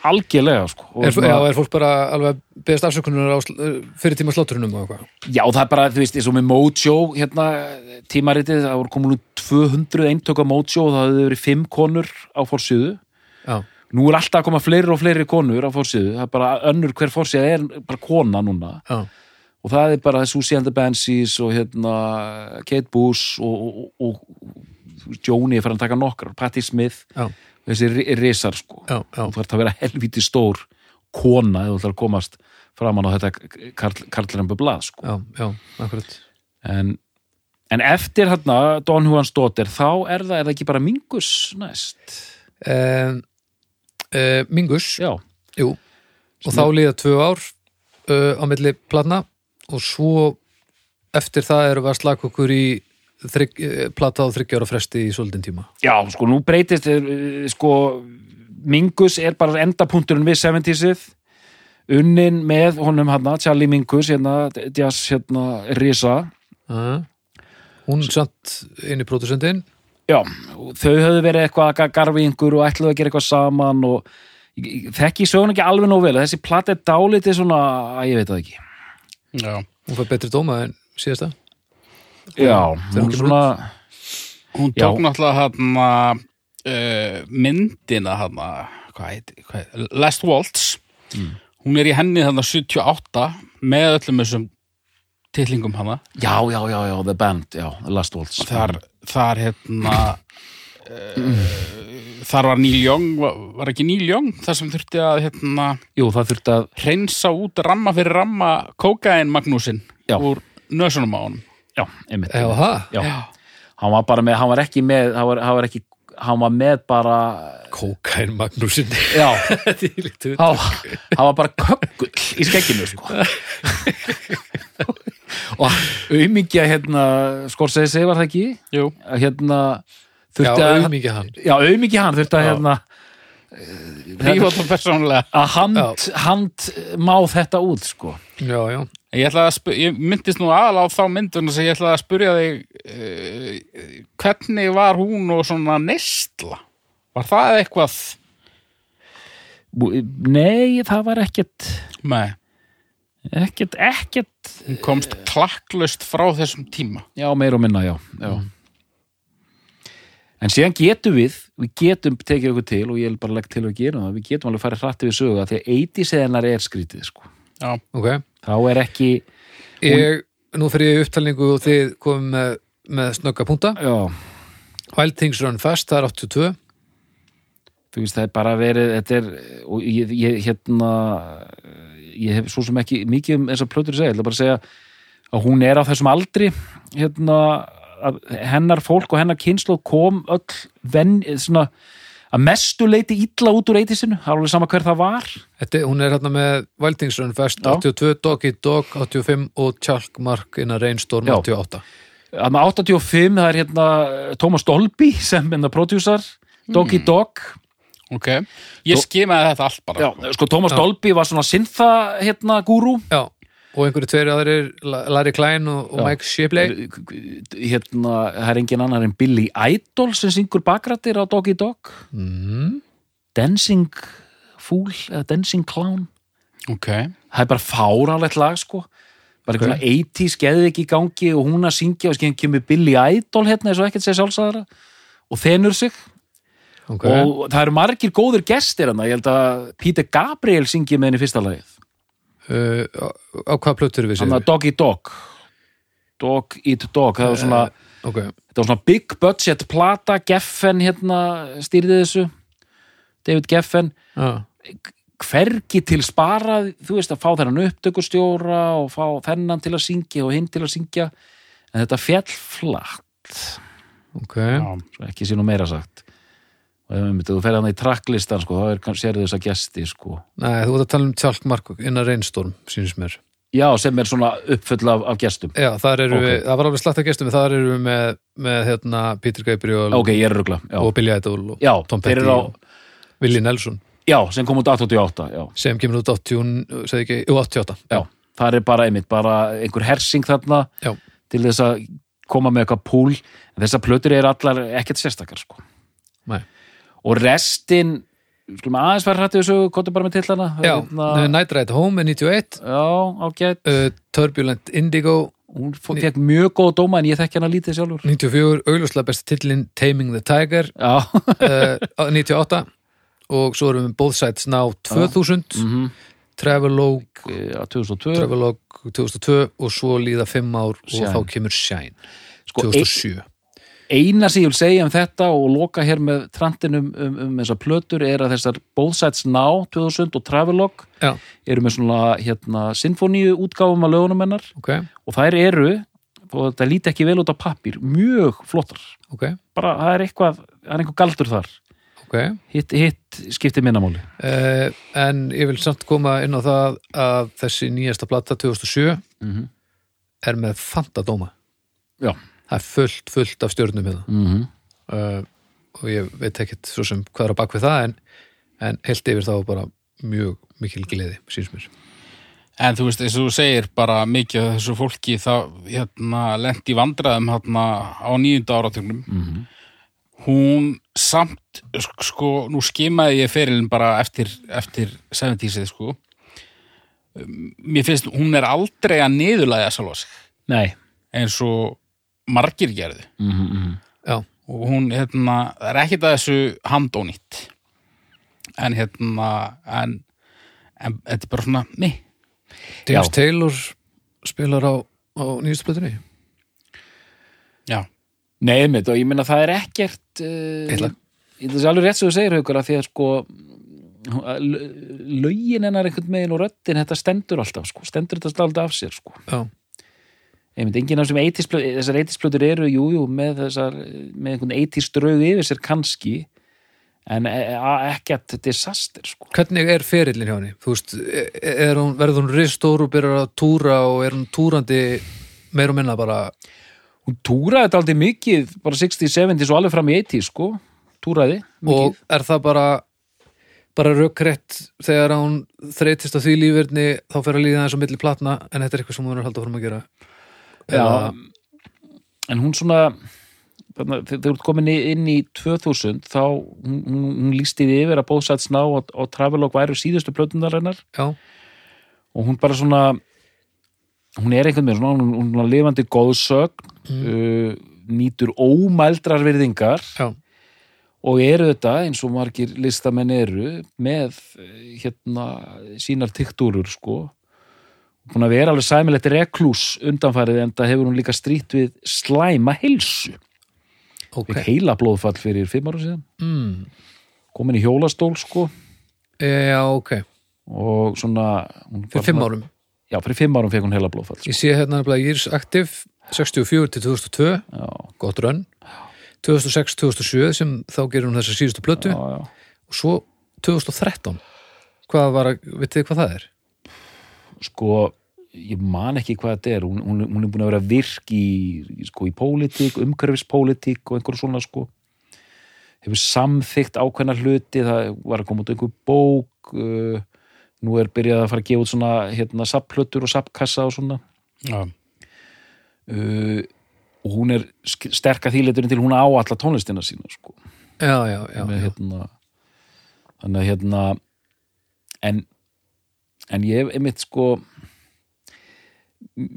Speaker 2: algjörlega, sko. Og
Speaker 1: er,
Speaker 2: svona-
Speaker 1: já, er fólk bara alveg að beðast afsökunar á eh, fyrirtíma slotturunum og eitthvað
Speaker 2: Já, það er bara, þú veist, eins og með Mojo hérna, tímaritið, það voru komin út 200 eintöku á Mojo og það hefði verið 5 konur á fórsíðu
Speaker 1: Já,
Speaker 2: nú er alltaf að koma fleiri og fleiri konur á fórsíðu, það er bara önnur hver fórsíða er bara kona núna
Speaker 1: já,
Speaker 2: og það er bara Susie and the Banshees og hérna Kate Bush og, og, og, og Joni er farin að taka nokkrar, Patti Smith
Speaker 1: já,
Speaker 2: þessi ri- risar sko
Speaker 1: já, já.
Speaker 2: þú þarf að vera helviti stór kona eða þú ætlar að komast framan á þetta Karl, Karlrembu blað sko
Speaker 1: já, já, akkurat
Speaker 2: en, en eftir hérna Don Juan Stóttir, þá er það, er það ekki bara mingus næst
Speaker 1: um, uh, Mingus
Speaker 2: já,
Speaker 1: Jú, og þá líða tvö ár uh, á milli platna og svo eftir það erum við að slaka okkur í þrygg, uh, plata á þryggjára fresti í svolítinn tíma
Speaker 2: já sko nú breytist eh, eh, sko mingus er bara endapunkturinn við 70-sið unnin með honum hérna, Charlie Mingus hérna, Jazz hérna, Risa
Speaker 1: uh. Hún samt inn í pródusendin
Speaker 2: já, og þau höfðu verið eitthvað að garfi yngur og ætluðu að gera eitthvað saman og ég- ég þekki söguna ekki alveg nóg vel þessi plata er dálítið svona, að ég veit það ekki
Speaker 3: Já,
Speaker 1: Hún fær betri dóma en síðasta
Speaker 2: já,
Speaker 1: hún
Speaker 2: hún
Speaker 1: kemur
Speaker 2: svona
Speaker 3: hún
Speaker 2: Já.
Speaker 3: tók náttúrulega hann uh, myndina hann hvað heit, hvað heit, Last Waltz hún er í henni hann 78 með öllum þessum titlingum hana
Speaker 2: já, já, já, já, The Band, já, The Last Waltz
Speaker 3: þar, þar hérna uh, þar var Neil Young var, var ekki Neil Young þar sem þurfti að hérna
Speaker 2: Jú, það þurfti að
Speaker 3: hreinsa út ramma fyrir ramma kókain Magnúsin
Speaker 2: Já.
Speaker 3: úr nösunum á honum
Speaker 2: Já, einmitt
Speaker 1: Eða það,
Speaker 2: Eh, Já. Hann var bara með, hann var ekki með hann var, hann var, ekki, hann var með bara
Speaker 1: kókain Magnúsin *laughs*
Speaker 2: Já,
Speaker 1: Þetta er lítið
Speaker 2: hann, hann var bara kökkull í skegginu sko. *laughs* og auðmingja hérna, Scorsese var það ekki
Speaker 3: Jú,
Speaker 2: Að hérna
Speaker 1: Já,
Speaker 2: þurfti að
Speaker 1: auðmikið hann
Speaker 2: Já, auðmingja hann þurfti að hérna
Speaker 3: prívat og persónulega
Speaker 2: að hand, hand má þetta út sko.
Speaker 1: Já, já,
Speaker 3: Ég, ætlaði að spu- ég myndist nú aðal á þá mynduna sem ég ætlaði að spurja þig uh, hvernig var hún og svona neysla? Var það eitthvað?
Speaker 2: Nei, það var ekkert
Speaker 3: Nei,
Speaker 2: ekkert, ekkert
Speaker 3: hún komst klakklaust frá þessum tíma
Speaker 2: Já, meir og minna, já, já. En síðan getum við, við getum tekið okkur til og ég vil bara legg til að gera það, við getum alveg farið hrætti við sögu að því að 80s hennar er skrítið, sko.
Speaker 3: Já,
Speaker 1: ok
Speaker 2: Þá er ekki,
Speaker 1: Ég, nú fyrir ég í upptalningu og þið komum með, með snögga punta
Speaker 2: já,
Speaker 1: Wild Things Run Fast, það er 82
Speaker 2: þú veist, það er bara verið, þetta er, og ég, ég hérna, ég hef svo sem ekki mikið um þessar plötur að segja, ég ætla bara að segja að hún er á þessum aldri, hérna, að hennar fólk og hennar kynslu kom öll venn, svona, að mestu leiti illa út úr eitisinu, alveg sama hver það var.
Speaker 1: Þetta, hún er hérna með Wild Things Run Fast
Speaker 2: Já.
Speaker 1: 82, Dog Eat Dog 85 og Chalk Mark in a Rainstorm
Speaker 2: Já.
Speaker 1: 88
Speaker 2: Þannig eh, 85, það er hérna Thomas Dolby sem hérna prodjúsar, Doggy Dog
Speaker 3: ok. Ég skimaði þetta allt bara.
Speaker 2: Já, sko Thomas Dolby var svona sinfa hérna gúrú
Speaker 1: Já, og einhverju tveiri aðrir La- Larry Klein og, og
Speaker 2: Já.
Speaker 1: Mike Shipley
Speaker 2: hérna, það er engin annar en Billy Idol sem syngur bakrættir á Doggy Dog
Speaker 1: mm.
Speaker 2: Dancing Fool eða Dancing Clown
Speaker 3: Ok,
Speaker 2: það er bara fáránlegt lag sko bara einhvern veginn 80s geði ekki í gangi og hún að syngja og skemmt kemur Billy Idol hérna eins og ekkert segja sjálfsæðara og þenur sig
Speaker 1: ok,
Speaker 2: og það eru margir góðir gestir hann ég held að Peter Gabriel syngi með henni í fyrsta lagið
Speaker 1: uh, á, á hvað plötur við
Speaker 2: hann
Speaker 1: sér?
Speaker 2: að Doggy Dog Dog Eat Dog það var svona,
Speaker 1: Eh, Ok,
Speaker 2: þetta var svona big budget plata Geffen hérna stýrði þessu David Geffen
Speaker 1: já,
Speaker 2: hvergi til sparað þú veist að fá þennan upptökustjóra og fá þennan til að syngja og hinn til að syngja en þetta fjall flatt
Speaker 1: ok
Speaker 3: já.
Speaker 2: svo ekki sé nú meira sagt og ef einmitt, ef þú fer hann í tracklistan sko, þá er kannski sérðu þessa gesti sko.
Speaker 1: Nei, þú ert að tala um Tjalk Markok innan Reynstorm, sínst mér
Speaker 2: já, sem er svona uppfull af, af gestum
Speaker 1: Já, þar eru
Speaker 2: Ok.
Speaker 1: við, það var alveg slatt að gestum þar eru við með, með hérna, Peter Gabriel
Speaker 2: ok, ég er rugla já,
Speaker 1: og Billy Idol og
Speaker 2: já
Speaker 1: Tom
Speaker 2: þeir
Speaker 1: Petty
Speaker 2: eru á,
Speaker 1: og Willi Nelson
Speaker 2: já, sem kom út 88 já.
Speaker 1: sem kemur út 80, segði ekki, jú, 88
Speaker 2: já, það er bara einmitt bara einhver hersing þarna
Speaker 1: Já.
Speaker 2: til þess að koma með eitthvað púl en þessar plötur eru allar ekkert sérstakar sko.
Speaker 1: Nei.
Speaker 2: og restin skulum aðeins vera hrættið þessu, kóttu bara með tillana
Speaker 1: Já, eh,
Speaker 2: hérna,
Speaker 1: Night Ride Home er 91
Speaker 2: já ágætt
Speaker 1: uh, Turbulent Indigo
Speaker 2: hún fó- fékk mjög góð dóma en ég þekki hana lítið sjálfur
Speaker 1: 94, augljóslega besti tillin Taming the Tiger
Speaker 2: já,
Speaker 1: *laughs* uh, 98 og svo erum við Both Sides Now 2000
Speaker 2: Ah. mhm,
Speaker 1: Travelogue,
Speaker 2: já, *laughs* 2002
Speaker 1: Travelogue 2002 og svo líða 5 ár og
Speaker 2: Shine.
Speaker 1: þá kemur Shine
Speaker 2: sko,
Speaker 1: 2007
Speaker 2: eina sem ég vil segja um þetta og loka hér með trantinn um, um, um þessar plötur er að þessar Both Sides Now 2000 og Travelog
Speaker 1: Já,
Speaker 2: eru með svona hérna, sinfoníu útgáfum af lögunum hennar
Speaker 1: ok,
Speaker 2: og þær eru, þó þetta líti ekki vel út á pappir, mjög flottar
Speaker 1: ok,
Speaker 2: bara það er eitthvað, það er einhver galdur þar
Speaker 1: ok
Speaker 2: hitt, hitt skiptir minnamáli
Speaker 1: uh, En ég vil samt koma inn á það að þessi nýjasta plata 2007
Speaker 2: Mhm.
Speaker 1: er með fantadóma
Speaker 2: Já.
Speaker 1: Það er fullt, fullt af stjörnum hérna
Speaker 2: mm -hmm.
Speaker 1: uh, og ég veit ekkit svo sem hvað er á bak við það en, en heilt yfir þá bara mjög mikil gleði, síns mér
Speaker 3: En þú veist, eins og þú segir bara mikið af þessu fólki það hérna lendi vandræðum hérna á nýjunda áratugnum.
Speaker 2: Mhm.
Speaker 3: Hún samt, sk- sko, nú skimaði ég ferilin bara eftir, eftir 70-sið, sko. Um, Mér finnst, hún er aldrei að niðurlæða sjálfa sig
Speaker 2: Nei
Speaker 3: eins og margir gerðu.
Speaker 2: mm -hmm.
Speaker 1: Já,
Speaker 3: og hún hérna, það er ekkert að þessu handónýtt en hérna en, en þetta er bara svona, nei
Speaker 1: James
Speaker 2: Já.
Speaker 1: Taylor spilar á, á nýjustu plötunni
Speaker 3: já,
Speaker 2: Nei, einmitt, og ég meina það er ekkert uh,
Speaker 1: Eitt lag.
Speaker 2: Það er alveg rétt sem þú segir, Haukur, að því að sko hún- að l- lögin hennar einhvern megin og röddin, þetta stendur alltaf, sko, stendur þetta alltaf af sér, sko
Speaker 1: Já,
Speaker 2: einmitt, enginn af þessum 80s plö- þessar 80s plötur eru, jú, jú, með þessar með einhvern 80s draug yfir sér kannski en e- a- ekkert disaster, sko
Speaker 1: hvernig er ferillin hjá henni? Þú veist, e- er hún, verður hún ristór og byrjar að túra og er hún túrandi meir og minna bara
Speaker 2: Hún túraði þetta aldrei mikið, bara 60s, 70s og alveg fram í 80s, sko túraði, mikið
Speaker 1: og er það bara bara rökkrett þegar hún þreytist á því lífverðni þá fer að líða eins og milli platna en þetta er eitthvað sem hún er að halda fórum að gera
Speaker 2: Já, en hún svona þarna, þe- þegar þú ert komin í- inn í 2000 þá hún, hún, hún lísti því yfir að Bóðsæts ná og, og Travelog væru síðustu plötunar hennar
Speaker 1: já,
Speaker 2: og hún bara svona hún er einhvern veginn svona, hún, hún er svona lifandi góðsögn uh, nýtur ómældrar virðingar
Speaker 1: já,
Speaker 2: og eru þetta eins og margir listamenn eru með eh, hérna sínar tiktúrur sko búin að vera alveg sæmilegt reklús undanfærið en það hefur hún líka strýtt við slæma heilsu
Speaker 1: ok
Speaker 2: okay. heila blóðfall fyrir fimm ára síðan
Speaker 1: mm. e,
Speaker 2: komin í hjólastól sko
Speaker 1: já, ok,
Speaker 2: og svona hún var
Speaker 1: fyrir fimm
Speaker 2: svona-
Speaker 1: árum
Speaker 2: já, fyrir fimm árum fekk hún heila blóðfall sko.
Speaker 1: ég sé hérna nefnilega Years Active 64 til 2002,
Speaker 2: já,
Speaker 1: gott rönn 2006-2007 sem þá gerir hún þessa síðustu plötu
Speaker 2: já, já.
Speaker 1: og svo 2013 hvað var, að- vitið þið hvað það er?
Speaker 2: sko ég man ekki hvað þetta er hún, hún, hún er búin að vera virk í, í, sko, í pólitík, umhverfispólitík og einhverju svona sko hefur samþygt ákveðna hluti, það var að koma út einhver bók, uh, nú er byrjað að fara að gefa út svona hérna, sapplötur og sapkassa og svona.
Speaker 3: já,
Speaker 2: Uh, og hún er sk- sterk að þýleiturinn til hún á alla tónlistina sína, sko.
Speaker 1: já, já, já,
Speaker 2: með,
Speaker 1: já.
Speaker 2: hérna, þannig að hérna en, en ég hef einmitt sko m-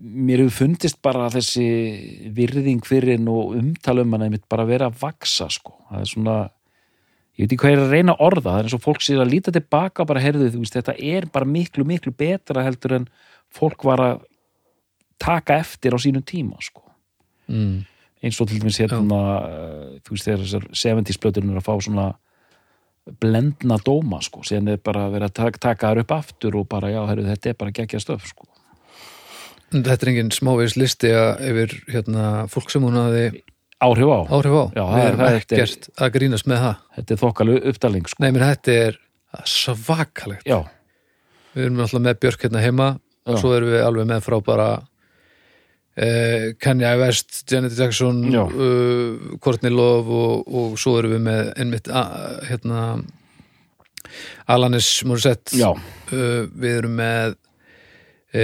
Speaker 2: mér hefur fundist bara þessi virðing fyrir henn og umtal um hann einmitt bara vera að vaksa sko, það er svona ég veit ekki hvað ég er að reyna að orða, það er eins og fólk sér að líta tilbaka bara heyrðu þú veist, þetta er bara miklu, miklu betra heldur en fólk var að taka eftir á sínum tíma sko
Speaker 1: Mm.
Speaker 2: eins og til dæmis hérna eh, þú veist þegar þessar 70s blötur er að fá svona blendna dóma sko, síðan er bara verið að taka, taka þær upp aftur og bara já, herru, þetta er bara geggja stöf sko.
Speaker 1: En Þetta er engin smávegis listi að yfir hérna, fólk sem hún hafði
Speaker 2: áhrif á,
Speaker 1: áhrif á.
Speaker 2: Já,
Speaker 1: Við
Speaker 2: það-
Speaker 1: erum
Speaker 2: það er-
Speaker 1: ekkert að grínast með það.
Speaker 2: þetta er þokkalu uppdaling sko.
Speaker 1: Nei, menn þetta er svakalegt.
Speaker 2: já,
Speaker 1: Við erum alltaf með Björk hérna heima,
Speaker 2: Já.
Speaker 1: svo erum við alveg með frá bara eh, Kanye West, Janet Jackson,
Speaker 2: Já.
Speaker 1: uh, Courtney Love og, og svo erum við með einmitt a, hérna, Alanis Morissette.
Speaker 2: já,
Speaker 1: uh, við erum með uh,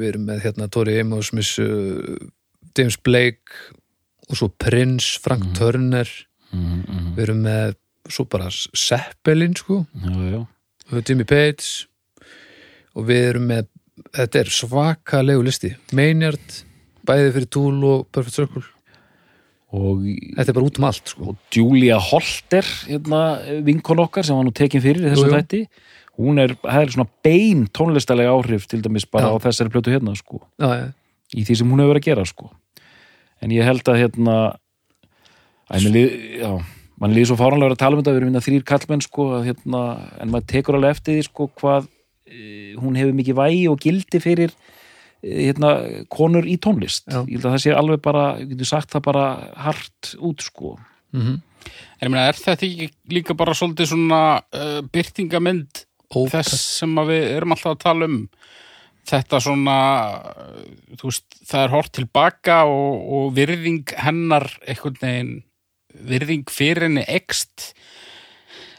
Speaker 1: við erum með hérna Tori Amos Miss, uh, James Blake og svo Prince, Frank Turner
Speaker 2: mm, mm,
Speaker 1: við erum með svo bara Seppelin sko,
Speaker 2: já, já.
Speaker 1: og Jimmy Page og við erum með þetta er svakalegu listi Maynard, bæði fyrir Tool og Perfect Circle,
Speaker 2: og
Speaker 1: þetta er bara út um allt sko.
Speaker 2: og Julia Holter hérna, vinkon okkar sem var nú tekin fyrir í þessum
Speaker 1: Jú, jú.
Speaker 2: þætti hún er, það er svona bein tónlistalega áhrif til dæmis
Speaker 1: Já.
Speaker 2: bara á þessari blötu hérna sko.
Speaker 1: já, já,
Speaker 2: í því sem hún hefur verið að gera sko. en ég held að hérna að mér líð já, mann líður svo fáranlega að tala um þetta við erum minna þrýr kallmenn sko, að, hérna, en maður tekur alveg eftir því sko, hvað e, hún hefur mikið vægi og gildi fyrir e, hérna, konur í tónlist
Speaker 1: Já.
Speaker 2: ég held að það sé alveg bara, ég getur sagt það bara hart út sko
Speaker 1: mm
Speaker 3: en ég meina, er þetta ekki líka bara svolítið svona uh, byrtingamynd þess sem að við erum alltaf að tala um þetta svona uh, þú veist, það er hort tilbaka og, og virðing hennar einhvern veginn virðing fyrir henni ekst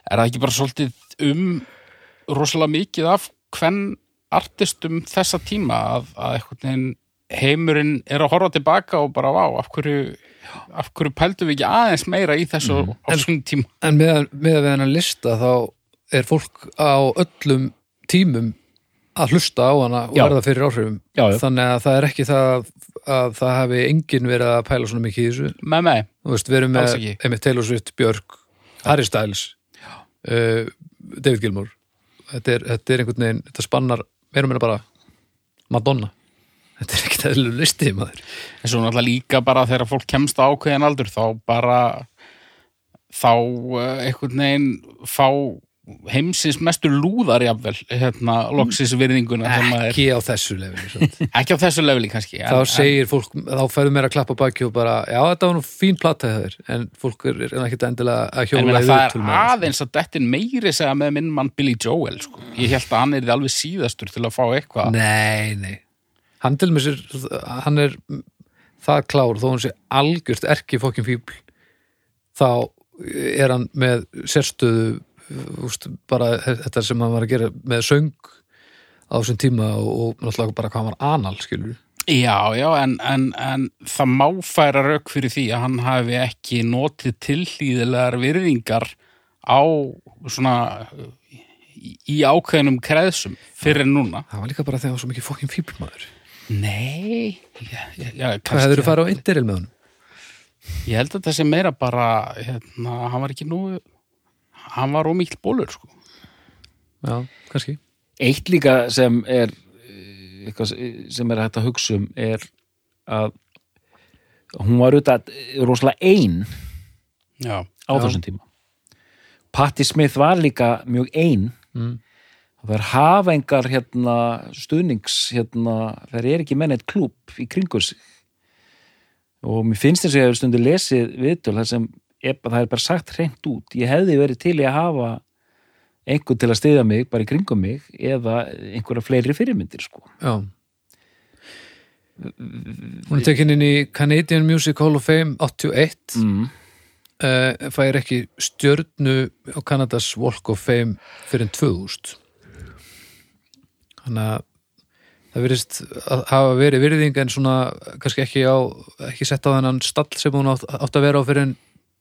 Speaker 3: er það ekki bara svolítið um rosalega mikið af hvern artistum þessa tíma að, að einhvern veginn heimurinn er að horfa tilbaka og bara vá, af hverju af hverju pældum við ekki aðeins meira í þessu mm. á
Speaker 1: En-
Speaker 3: svona tíma
Speaker 1: En með, með að við hennar lista þá er fólk á öllum tímum að hlusta á hana og
Speaker 2: Já.
Speaker 1: verða fyrir áhrifum.
Speaker 2: Já, já.
Speaker 1: Þannig að það er ekki það að, að það hafi enginn verið að pæla svona mikið í þessu.
Speaker 3: með með,
Speaker 1: Þú veist, við erum með
Speaker 3: Alls ekki.
Speaker 1: Emmett Taylor Swift, Björk, Harry Styles, uh, David Gilmour. Þetta er, þetta er einhvern veginn, þetta spannar, við erum meina bara Madonna. Þetta er ekki það listi, maður.
Speaker 3: En svo náttúrulega líka bara þegar fólk kemst á ákveðin aldur þá bara þá eh, einhvern veginn fá heimsins mestu lúðar jafnvel, hérna, loksins virðinguna sem maður,
Speaker 1: Ekki á þessu lefinu, svo.
Speaker 3: ekki á þessu leveli kannski en,
Speaker 1: þá segir fólk, þá færðu mér að klappa á baki og bara, já þetta var nú fín plata hjá þér en fólk er, er ekkert endilega að
Speaker 3: en, en
Speaker 1: hjóla
Speaker 3: meina,
Speaker 1: í
Speaker 3: það
Speaker 1: viðtöl
Speaker 3: er
Speaker 1: með það,
Speaker 3: aðeins að dettin meiri segja með minn mann Billy Joel sko. ég held að hann er alveg síðastur til að fá
Speaker 1: sko.
Speaker 3: eitthvað
Speaker 1: nei, nei hann til með sér, hann er það klár, þó hann sé algjört erki fokkin fíbl þá er hann með sérstöðu úst, bara þetta sem hann var að gera með söng á þessum tíma og, og náttúrulega bara hvað hann var anal skilur
Speaker 3: já, já, en, en, en það má færa rauk fyrir því að hann hafi ekki notið tilhlýðilegar virðingar á svona í, í ákveðnum kreðsum fyrir en núna
Speaker 1: það var líka bara þegar hann var svo mikið fokkin fíbl maður
Speaker 3: Nei, já, já, já,
Speaker 1: hvað hefur þú
Speaker 3: kannski,
Speaker 1: farið á interil með honum?
Speaker 3: ég held að það sé meira bara, hérna, hann var ekki nú, hann var ómikl bólur, sko.
Speaker 1: já, kannski
Speaker 2: eitt líka sem er eh, eitthvað sem er hægt að hugsa um er að hún var auðvitað rosalega ein
Speaker 3: Já,
Speaker 2: á þessum tíma Patti Smith var líka mjög ein
Speaker 1: Mm.
Speaker 2: það er hafa engar hérna, stuðnings hérna, það er ekki menn eitt klúb í kringu sig og mér finnst þess að ég hef stundu lesið viðtöl þar sem er, það er bara sagt hreint út ég hefði verið til í að hafa einhver til að stiða mig, bara í kringum mig eða einhverja fleiri fyrirmyndir sko.
Speaker 1: Já Hún er tekin inn í Canadian Music Hall of Fame 81
Speaker 2: mm.
Speaker 1: uh, fær ekki stjörnu á Kanadas Walk of Fame fyrir en 2000 þannig að það virðist að hafa verið virðing en svona kannski ekki á ekki sett á þennan stall sem hún átt, átt að vera á fyrir en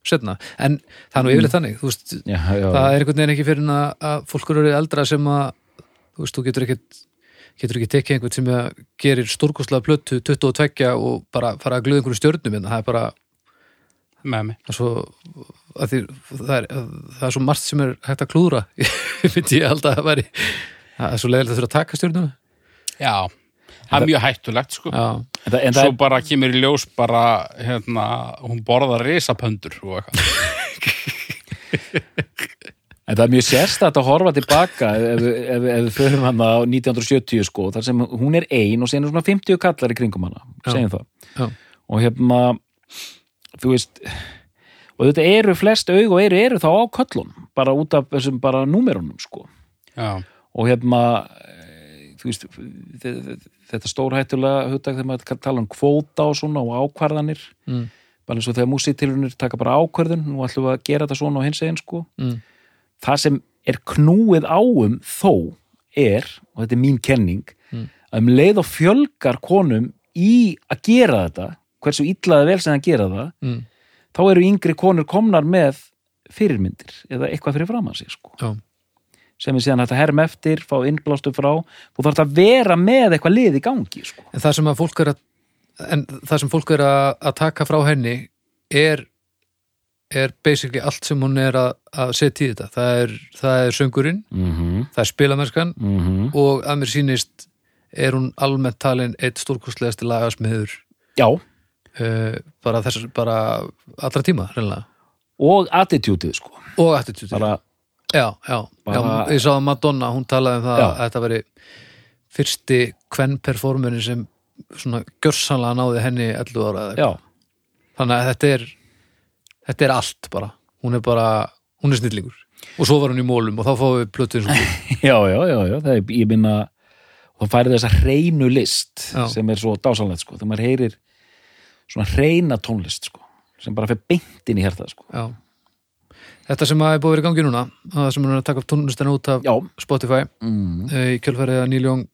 Speaker 1: setna en það er nú yfirleitt þannig, þú veist
Speaker 2: já, já,
Speaker 1: það er einhvern veginn ekki fyrir en að, að fólk eru orðið eldra sem að þú veist, þú getur ekkert getur ekki tekið einhvern sem að gerir stórkostlega plötu 22 og bara fara að glöða einhverju stjörnum en það er bara
Speaker 3: með mig
Speaker 1: það er svo að því, það, er, það er svo margt sem er hægt að klúðra *laughs* myndi ég held að það væri það er svo leiðilegt að þurfa að taka stjörnum
Speaker 3: já, það er mjög hættulegt sko.
Speaker 1: já,
Speaker 2: En það- en það
Speaker 3: svo
Speaker 2: er
Speaker 3: bara kemur í ljós bara hérna, hún borðar risapöndur og eitthvað
Speaker 2: En það er mjög sérstætt að horfa tilbaka ef, ef, ef, ef við förum hann á 1970 sko, þar sem hún er ein og segjum svona 50 kallar í kringum hana, segjum það
Speaker 1: já,
Speaker 2: og hérna þú veist og þetta eru flest aug og eru, eru þá á köllun bara út af þessum bara númerunum sko
Speaker 3: já,
Speaker 2: og hérna eh, þú veist, þe- þe- þetta stórhættulega hugtak þegar maður tala um kvóta og svona og ákvarðanir
Speaker 1: Mm.
Speaker 2: bara eins og þegar músitilunir taka bara ákvarðun nú ætlum við að gera þetta svona og hins einn sko
Speaker 1: Mm.
Speaker 2: það sem er knúið áum þó er, og þetta er mín kenning
Speaker 1: Mm.
Speaker 2: að um leið og fjölgar konum í að gera þetta hversu illaði vel sem það gera það
Speaker 1: mm,
Speaker 2: þá eru yngri konur komnar með fyrirmyndir eða eitthvað fyrir framan sig sko
Speaker 1: já,
Speaker 2: sem er síðan hægt að herma eftir, fá innblástu frá þú þarf að vera með eitthvað lið í gangi sko.
Speaker 1: en það sem að fólk er að en það sem fólk er að, að taka frá henni er er basically allt sem hún er að, að setja í þetta, það er, það er söngurinn,
Speaker 2: mm -hmm,
Speaker 1: það er spilamennskan
Speaker 2: mm -hmm.
Speaker 1: og að mér sýnist er hún almennt talin eitt stórkostlegasti lagasmiður
Speaker 2: já,
Speaker 1: uh, bara, þessar, bara allra tíma reynilega.
Speaker 2: og attitútið sko.
Speaker 1: og attitude
Speaker 2: bara,
Speaker 1: já, já,
Speaker 2: Bara-
Speaker 1: já, ég sá að Madonna hún talaði um það
Speaker 2: Já.
Speaker 1: að þetta veri fyrsti kvenn performerin sem svona gjörsanlega náði henni 11 ára eða eitthvað.
Speaker 2: já,
Speaker 1: þannig að þetta er þetta er allt bara hún er bara, hún er snillingur og svo var hún í mólum og þá fáum við plötu eins og hún.
Speaker 2: já, já, já, já það er, ég minna og færi þessa hreinu list
Speaker 1: Já.
Speaker 2: sem er svo dásalegt sko, þegar maður heyrir svona hreina tónlist sko, sem bara fer beint inn í hértað sko.
Speaker 1: Já. þetta sem að er búið að vera í gangi núna það sem hún er að taka tónlistina út af
Speaker 2: já,
Speaker 1: Spotify
Speaker 2: mm.
Speaker 1: uh, í kjölfærið að Neil Young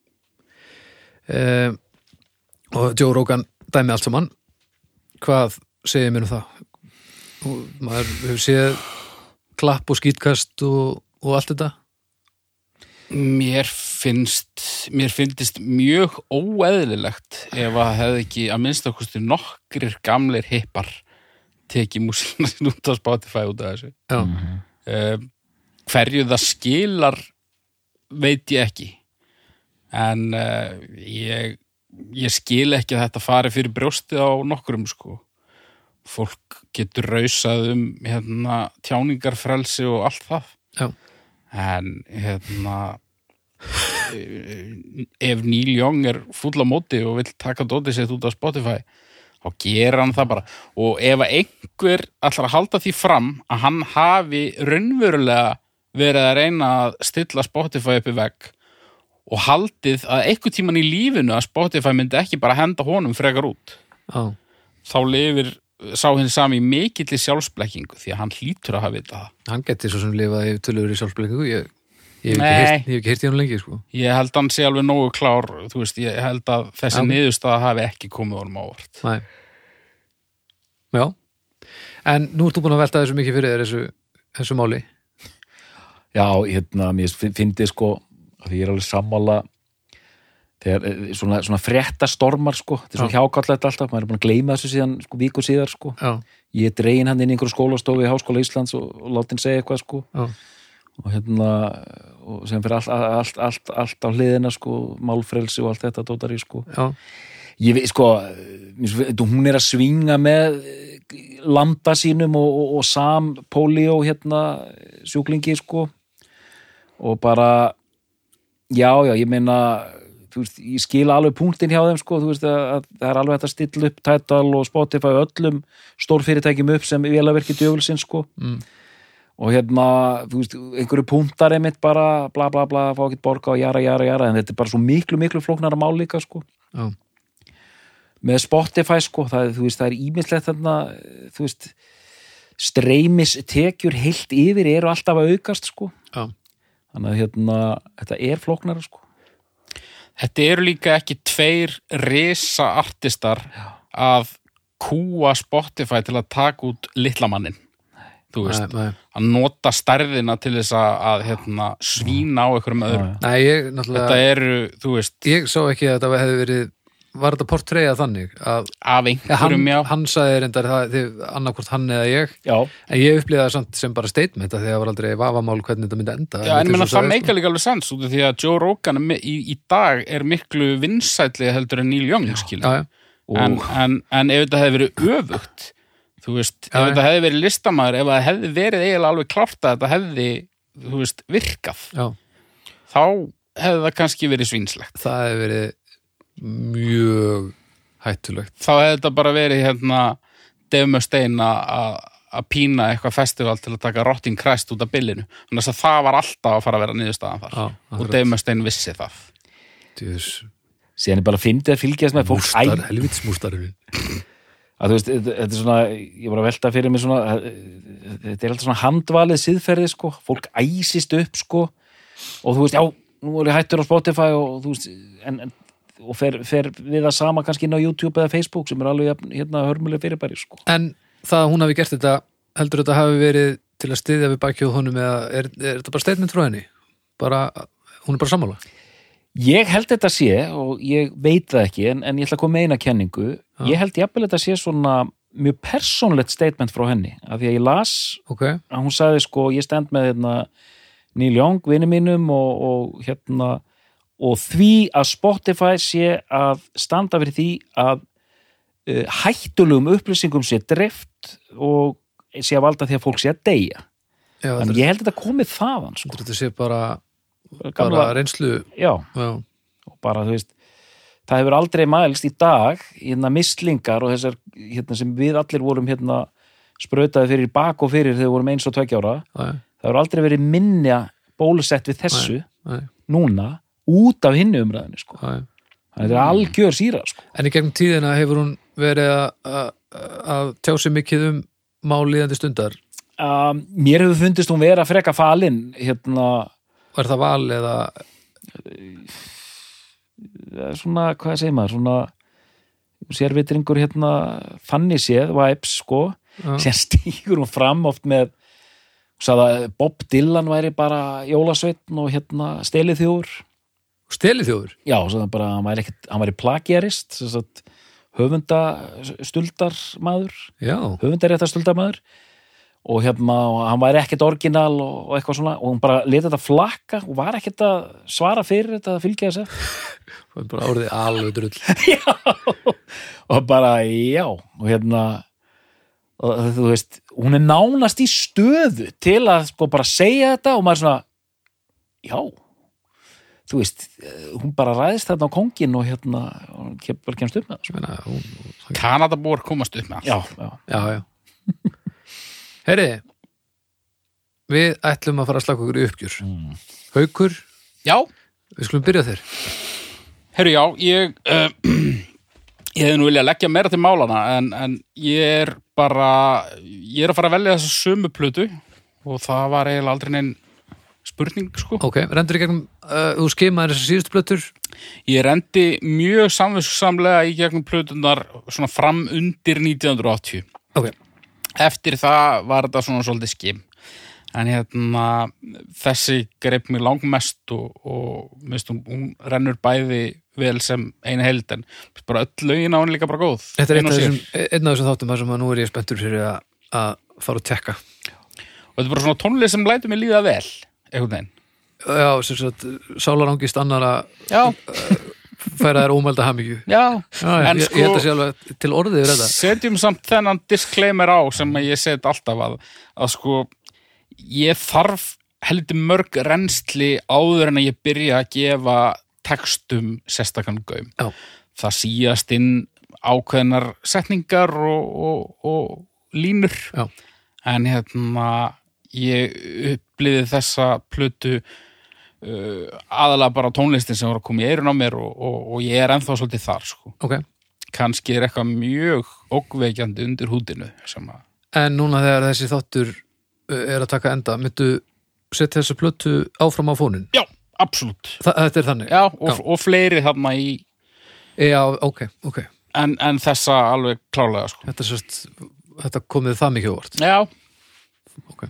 Speaker 1: uh, og Joe Rogan dæmi allt saman hvað segir mér um það og maður hefur séð klapp og skýtkast og, og allt þetta
Speaker 3: mér finnst mér finnst mjög óeðlilegt ef að hefði ekki að minnst okkustu nokkrir gamlir hippar tekið músina sín út á Spotify út af þessu
Speaker 1: já,
Speaker 3: uh, hverju það skilar veit ég ekki en uh, ég, ég skil ekki að þetta fari fyrir brjóstið á nokkrum sko fólk getur rausað um hérna, tjáningarfrelsi og allt það
Speaker 1: já,
Speaker 3: en hérna eh, ef Neil Young er fúll á móti og vill taka dótið sitt út á Spotify þá gera hann það bara og ef að einhver ætlar að halda því fram að hann hafi raunverulega verið að reyna að stilla Spotify upp í vegg og haldið að einhver tíman í lífinu að Spotify myndi ekki bara henda honum frekar út
Speaker 1: já,
Speaker 3: þá lifir sá hinn sami í mikilli sjálfsblekkingu því að hann hlýtur að hafa vitað það
Speaker 1: hann geti svo sem lifað í tölur í sjálfsbleikingu ég, ég, hef ekki
Speaker 3: Nei.
Speaker 1: heyrt- ég hef ekki heyrt í hann lengi sko.
Speaker 3: Ég held að hann sé alveg nógu klár, þú veist, ég held að þessi
Speaker 1: Já.
Speaker 3: niðurstaða hafi ekki komið honum ávart.
Speaker 1: Nei. já en nú ert þú búin að velta þessu mikið fyrir þér þessu, þessu máli
Speaker 2: Já, hérna, mér fyndi sko að því ég er alveg sammála þegar eh, svona, svona fréttastormar sko, þetta er svo
Speaker 1: Já.
Speaker 2: hjákallætt alltaf maður er búin að gleyma þessu síðan, sko, viku síðar sko
Speaker 1: já,
Speaker 2: ég er dregin hann inn í einhverju skólastofu í Háskóla Íslands og, og látin segja eitthvað sko
Speaker 1: já,
Speaker 2: og hérna, og sem fyrir allt, allt, allt, allt á hliðina sko málfrelsi og allt þetta dótari sko
Speaker 1: já,
Speaker 2: ég veit sko mér svo- þetta- hún er að svinga með eh, landa sínum og, og, og sam polio hérna sjúklingi sko og bara já já ég meina þú veist, ég skil alveg punktin hjá þeim sko þú veist að, að það er alveg hægt að stilla upp Tidal og Spotify og öllum stórfyrirtækjum upp sem vélaverki djöfulsinn sko
Speaker 1: Mm.
Speaker 2: og hérna þú veist, einhverju punktar einmitt bara bla bla bla, fá ekkert borga og jara jara jara en þetta er bara svo miklu miklu flóknara mál líka sko
Speaker 1: já,
Speaker 2: með Spotify sko, það, er, þú veist, það er ímislegt þarna, þú veist streymis tekjur heilt yfir eru alltaf að aukast sko
Speaker 1: Já.
Speaker 2: þannig að hérna, þetta er flóknara sko
Speaker 3: Þetta eru líka ekki tveir risa artistar að kúa Spotify til að taka út litlamannin þú veist,
Speaker 1: Nei, nei.
Speaker 3: að nota stærðina til þess að, að hérna, svína á einhverjum öðrum
Speaker 2: Já, já.
Speaker 1: Nei, ég
Speaker 3: þetta
Speaker 1: náttúrulega,
Speaker 3: eru, þú veist,
Speaker 1: ég sá ekki að þetta hefði verið, var þetta portreyjað þannig að
Speaker 3: af
Speaker 1: ja, hann,
Speaker 3: einhverjum já,
Speaker 1: hann sagði reyndar það, þið, annarkvort hann eða ég,
Speaker 2: Já,
Speaker 1: en ég upplýði það samt sem bara statement að því að það var aldrei vafamál hvernig þetta myndi enda.
Speaker 3: já,
Speaker 1: Þetta er
Speaker 3: en ég meina,
Speaker 1: svo
Speaker 3: það
Speaker 1: sagði,
Speaker 3: meika líka alveg sens út af því að Joe Rogan er mi- í, í dag er miklu vinsælli heldur en Neil Young
Speaker 1: sko.
Speaker 3: skilur
Speaker 1: Já, já.
Speaker 2: og
Speaker 3: en, en, en ef þetta hefði verið öfugt þú veist,
Speaker 1: Já,
Speaker 3: ef
Speaker 1: já.
Speaker 3: þetta hefði verið listamaður ef það hefði verið eiginlega alveg klárt að þetta hefði, þú veist, virkað
Speaker 1: Já,
Speaker 3: þá hefði það kannski verið svínslegt
Speaker 1: það hefði verið mjög hættulegt.
Speaker 3: þá hefði þetta bara verið hérna Demustein að að pína eitthvað festival til að taka Rotting Christ út af billinu þannig að það var alltaf að fara að vera niðurstaðan þar
Speaker 1: Já,
Speaker 3: og
Speaker 1: akkurat.
Speaker 3: Demustein vissi það
Speaker 1: Djús,
Speaker 2: síðan er bara að fyndi að fylgjast með fólk Æ,
Speaker 1: mústar, helvits mústarurinn.
Speaker 2: að þú veist, þetta þetta er svona ég var að velta fyrir mér svona að- þetta er alltaf svona handvalið siðferði sko fólk æsist upp sko og þú veist, já, nú er ég hættur á Spotify og þú veist, en, en og fer, fer við það sama kannski inn á YouTube eða Facebook sem er alveg jafn- hérna hörmuleg fyrirbæri sko.
Speaker 1: En það að hún hafi gert þetta, heldur þetta hafi verið til að styðja við bakjóð honum eða er, er þetta bara statement frá henni? Bara, hún er bara sammála?
Speaker 2: Ég held þetta sé og ég veit það ekki en, en ég ætla að koma með eina kenningu ég held jafnvel þetta sé svona mjög persónlegt statement frá henni af því að ég las
Speaker 1: Ok,
Speaker 2: að hún sagði sko ég stend með hérna, Neil Young, vinnu mínum og, og hérna og því að Spotify sé að standa fyrir því að uh, hættulegum upplýsingum sé dreift og sé að valda því að fólk sé að deyja
Speaker 1: já,
Speaker 2: þannig
Speaker 1: þetta,
Speaker 2: ég held þetta komið þaðan sko.
Speaker 1: þetta sé bara,
Speaker 2: Gamla,
Speaker 1: bara reynslu,
Speaker 2: já,
Speaker 1: já,
Speaker 2: og bara þú veist það hefur aldrei mælst í dag hérna mislingar og þessar hérna, sem við allir vorum hérna sprautaði fyrir bak og fyrir þegar við vorum eins og tveggja ára
Speaker 1: já, já,
Speaker 2: það hefur aldrei verið minna bólusett við þessu
Speaker 1: já,
Speaker 2: núna út af hinnu umræðinu sko.
Speaker 1: já, já.
Speaker 2: þannig að þetta er algjör síra sko.
Speaker 1: En í gegnum tíðina hefur hún verið að- að að tjá sig mikið um mál líðandi stundar.
Speaker 2: um, mér hefur fundist hún vera freka falin hérna
Speaker 1: Er það val eða,
Speaker 2: eh, svona, hvað segir maður svona sérvitringur hérna fannig séð, vibes sko
Speaker 1: Já.
Speaker 2: sem *laughs* stígur hún fram oft með sagði að Bob Dylan væri bara jólasveitn og hérna stelið þjóður
Speaker 1: stelið þjóður?
Speaker 2: já, sagði hann bara, að hann væri, ekkit, hann væri plagjarist sem sagt, höfunda stuldarmaður
Speaker 1: Já,
Speaker 2: höfundarétta stuldarmaður og hérna, og hann væri ekkert orginal og, og eitthvað svona, og hún bara leti þetta flakka og var ekkert að svara fyrir þetta að fylgja þessu
Speaker 1: það er bara orðið alveg drull.
Speaker 2: og bara já og hérna og, þú veist, hún er nánast í stöðu til að sko bara segja þetta og maður svona já, þú veist eh, hún bara ræðist þarna á kongin og hérna, og hún kem, bara kemst upp með það sko.
Speaker 1: Menna, Hérna, hún,
Speaker 3: Kanadabor komast upp með allt
Speaker 2: já, já,
Speaker 1: já, já. Heyri, við ætlum að fara að slaka okkur í uppgjur.
Speaker 3: Mm.
Speaker 1: Haukur,
Speaker 3: Já,
Speaker 1: við skulum byrja á þér.
Speaker 3: herru já, ég uh, *clears throat* ég hefði nú viljað leggja meira til málana en, en ég er bara ég er að fara að velja þessa sömu plötu og það var eiginlega aldrei neinn spurning sko.
Speaker 1: Ok, rendur í gegnum, uh, þú skeimaðir þessar síðustu blöttur.
Speaker 3: Ég rendi mjög samviskusamlega í gegnum plötunar svona fram undir 1980
Speaker 1: Ok,
Speaker 3: eftir það var þetta svona svolítið skim en hérna þessi greip mér langmest og, og minnst hún, hún rennur bæði vel sem eina held en bara öll lögin á henni líka bara góð
Speaker 1: þetta er einn af
Speaker 3: Ein og sér.
Speaker 1: þessum, e, einn af þessum þáttum þar sem að nú er ég spenntur fyrir að, að fara og tekka.
Speaker 3: og þetta er bara svona tónlist sem lætur mér líða vel einhvern veginn
Speaker 1: Já, sem sagt, sálarangist annara
Speaker 3: Já,
Speaker 1: færa þær ómælda hamingju.
Speaker 3: já,
Speaker 1: Já, já,
Speaker 3: en
Speaker 1: ég, ég held að sé
Speaker 3: sko
Speaker 1: alveg til orðið yfir þetta.
Speaker 3: setjum samt þennan disclaimer á sem að ég set alltaf að, að sko ég þarf heldur mörg reynsli áður en að ég byrja að gefa textum sérstakann gaum
Speaker 1: Já,
Speaker 3: það síast inn ákveðnar setningar og, og, og línur
Speaker 1: já,
Speaker 3: en hérna ég upplýði þessa plötu uh, aðalega bara tónlistin sem var að koma í eirun á mér og, og, og ég er ennþá svolítið þar sko.
Speaker 1: ok.
Speaker 3: kannski er eitthvað mjög ógveikjandi undir húdinu sem að
Speaker 1: en núna þegar þessi þáttur uh, er að taka enda, myndu setja þessa plötu áfram á fónin
Speaker 3: Já, absolutt.
Speaker 1: Þa, þetta er þannig?
Speaker 3: Já, og, og fleiri þarna í,
Speaker 1: Já, ok, ok
Speaker 3: en, en þessa alveg klálega, sko.
Speaker 1: þetta, er sérst, þetta komið það mikið óvart
Speaker 3: Já,
Speaker 1: ok,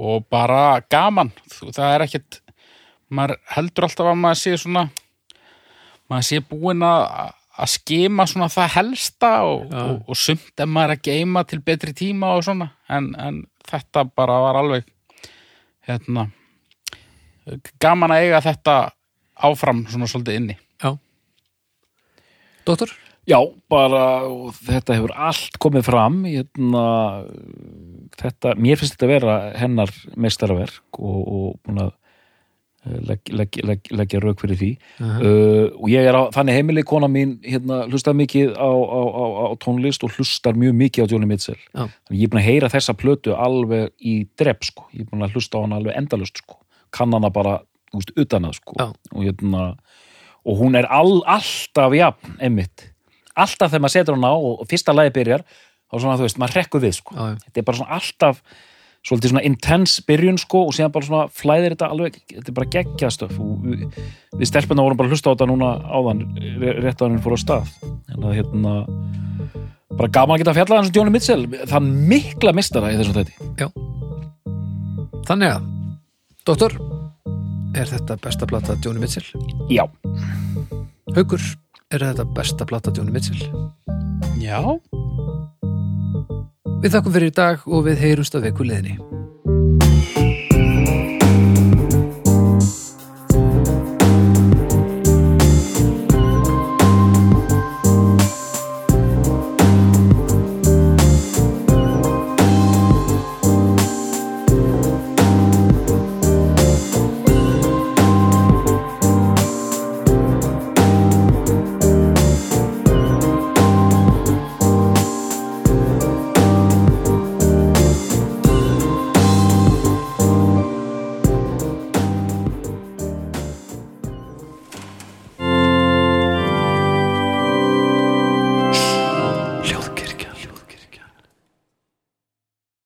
Speaker 3: og bara gaman. Þú, það er ekkert, maður heldur alltaf að maður sé svona, maður sé búin að að skema svona það helsta og,
Speaker 1: Já.
Speaker 3: og, og sumt en maður er að geima til betri tíma og svona en, en þetta bara var alveg hérna gaman að eiga þetta áfram svona svolítið inni
Speaker 1: já Dóttor?
Speaker 2: Já, bara, og þetta hefur allt komið fram, hérna, þetta, mér finnst þetta að vera hennar meistaraverk og, og búin að eh, legg, legg, legg, leggja rauk fyrir því. uh, og ég er á, þannig heimili kona mín, hérna, hlustar mikið á, á, á, á tónlist og hlustar mjög mikið á Johnny Mitchell.
Speaker 1: Já.
Speaker 2: Þannig ég er búin að heyra þessa plötu alveg í drepp, sko. Ég er búin að hlusta á hana alveg endalust, sko. Kann hana bara, þú veist, utan að, sko.
Speaker 1: Já.
Speaker 2: Og hérna, og hún er all, alltaf jafn, einmitt alltaf þegar maður setur hann á og og fyrsta lagi byrjar þá svona þú veist, maður rekku við sko.
Speaker 1: Já, já.
Speaker 2: þetta er bara svona alltaf svolítið svona intense byrjun sko og síðan bara svona flæðir þetta alveg þetta er bara geggjaðstöf og við, við stelpunna vorum bara að hlusta á þetta núna áðan ré- rétt að hann fór á stað en að hérna bara gaman að geta að fjalla hans Jóni Mitchell þann mikla mistara í þessum þetta
Speaker 1: Já Þannig að, Dóttor er þetta besta plata Johnny Mitchell?
Speaker 2: já,
Speaker 1: Haukur, er þetta besta plata Johnny Mitchell?
Speaker 3: Já
Speaker 1: Við þakkum fyrir í dag og við heyrumst að viku liðni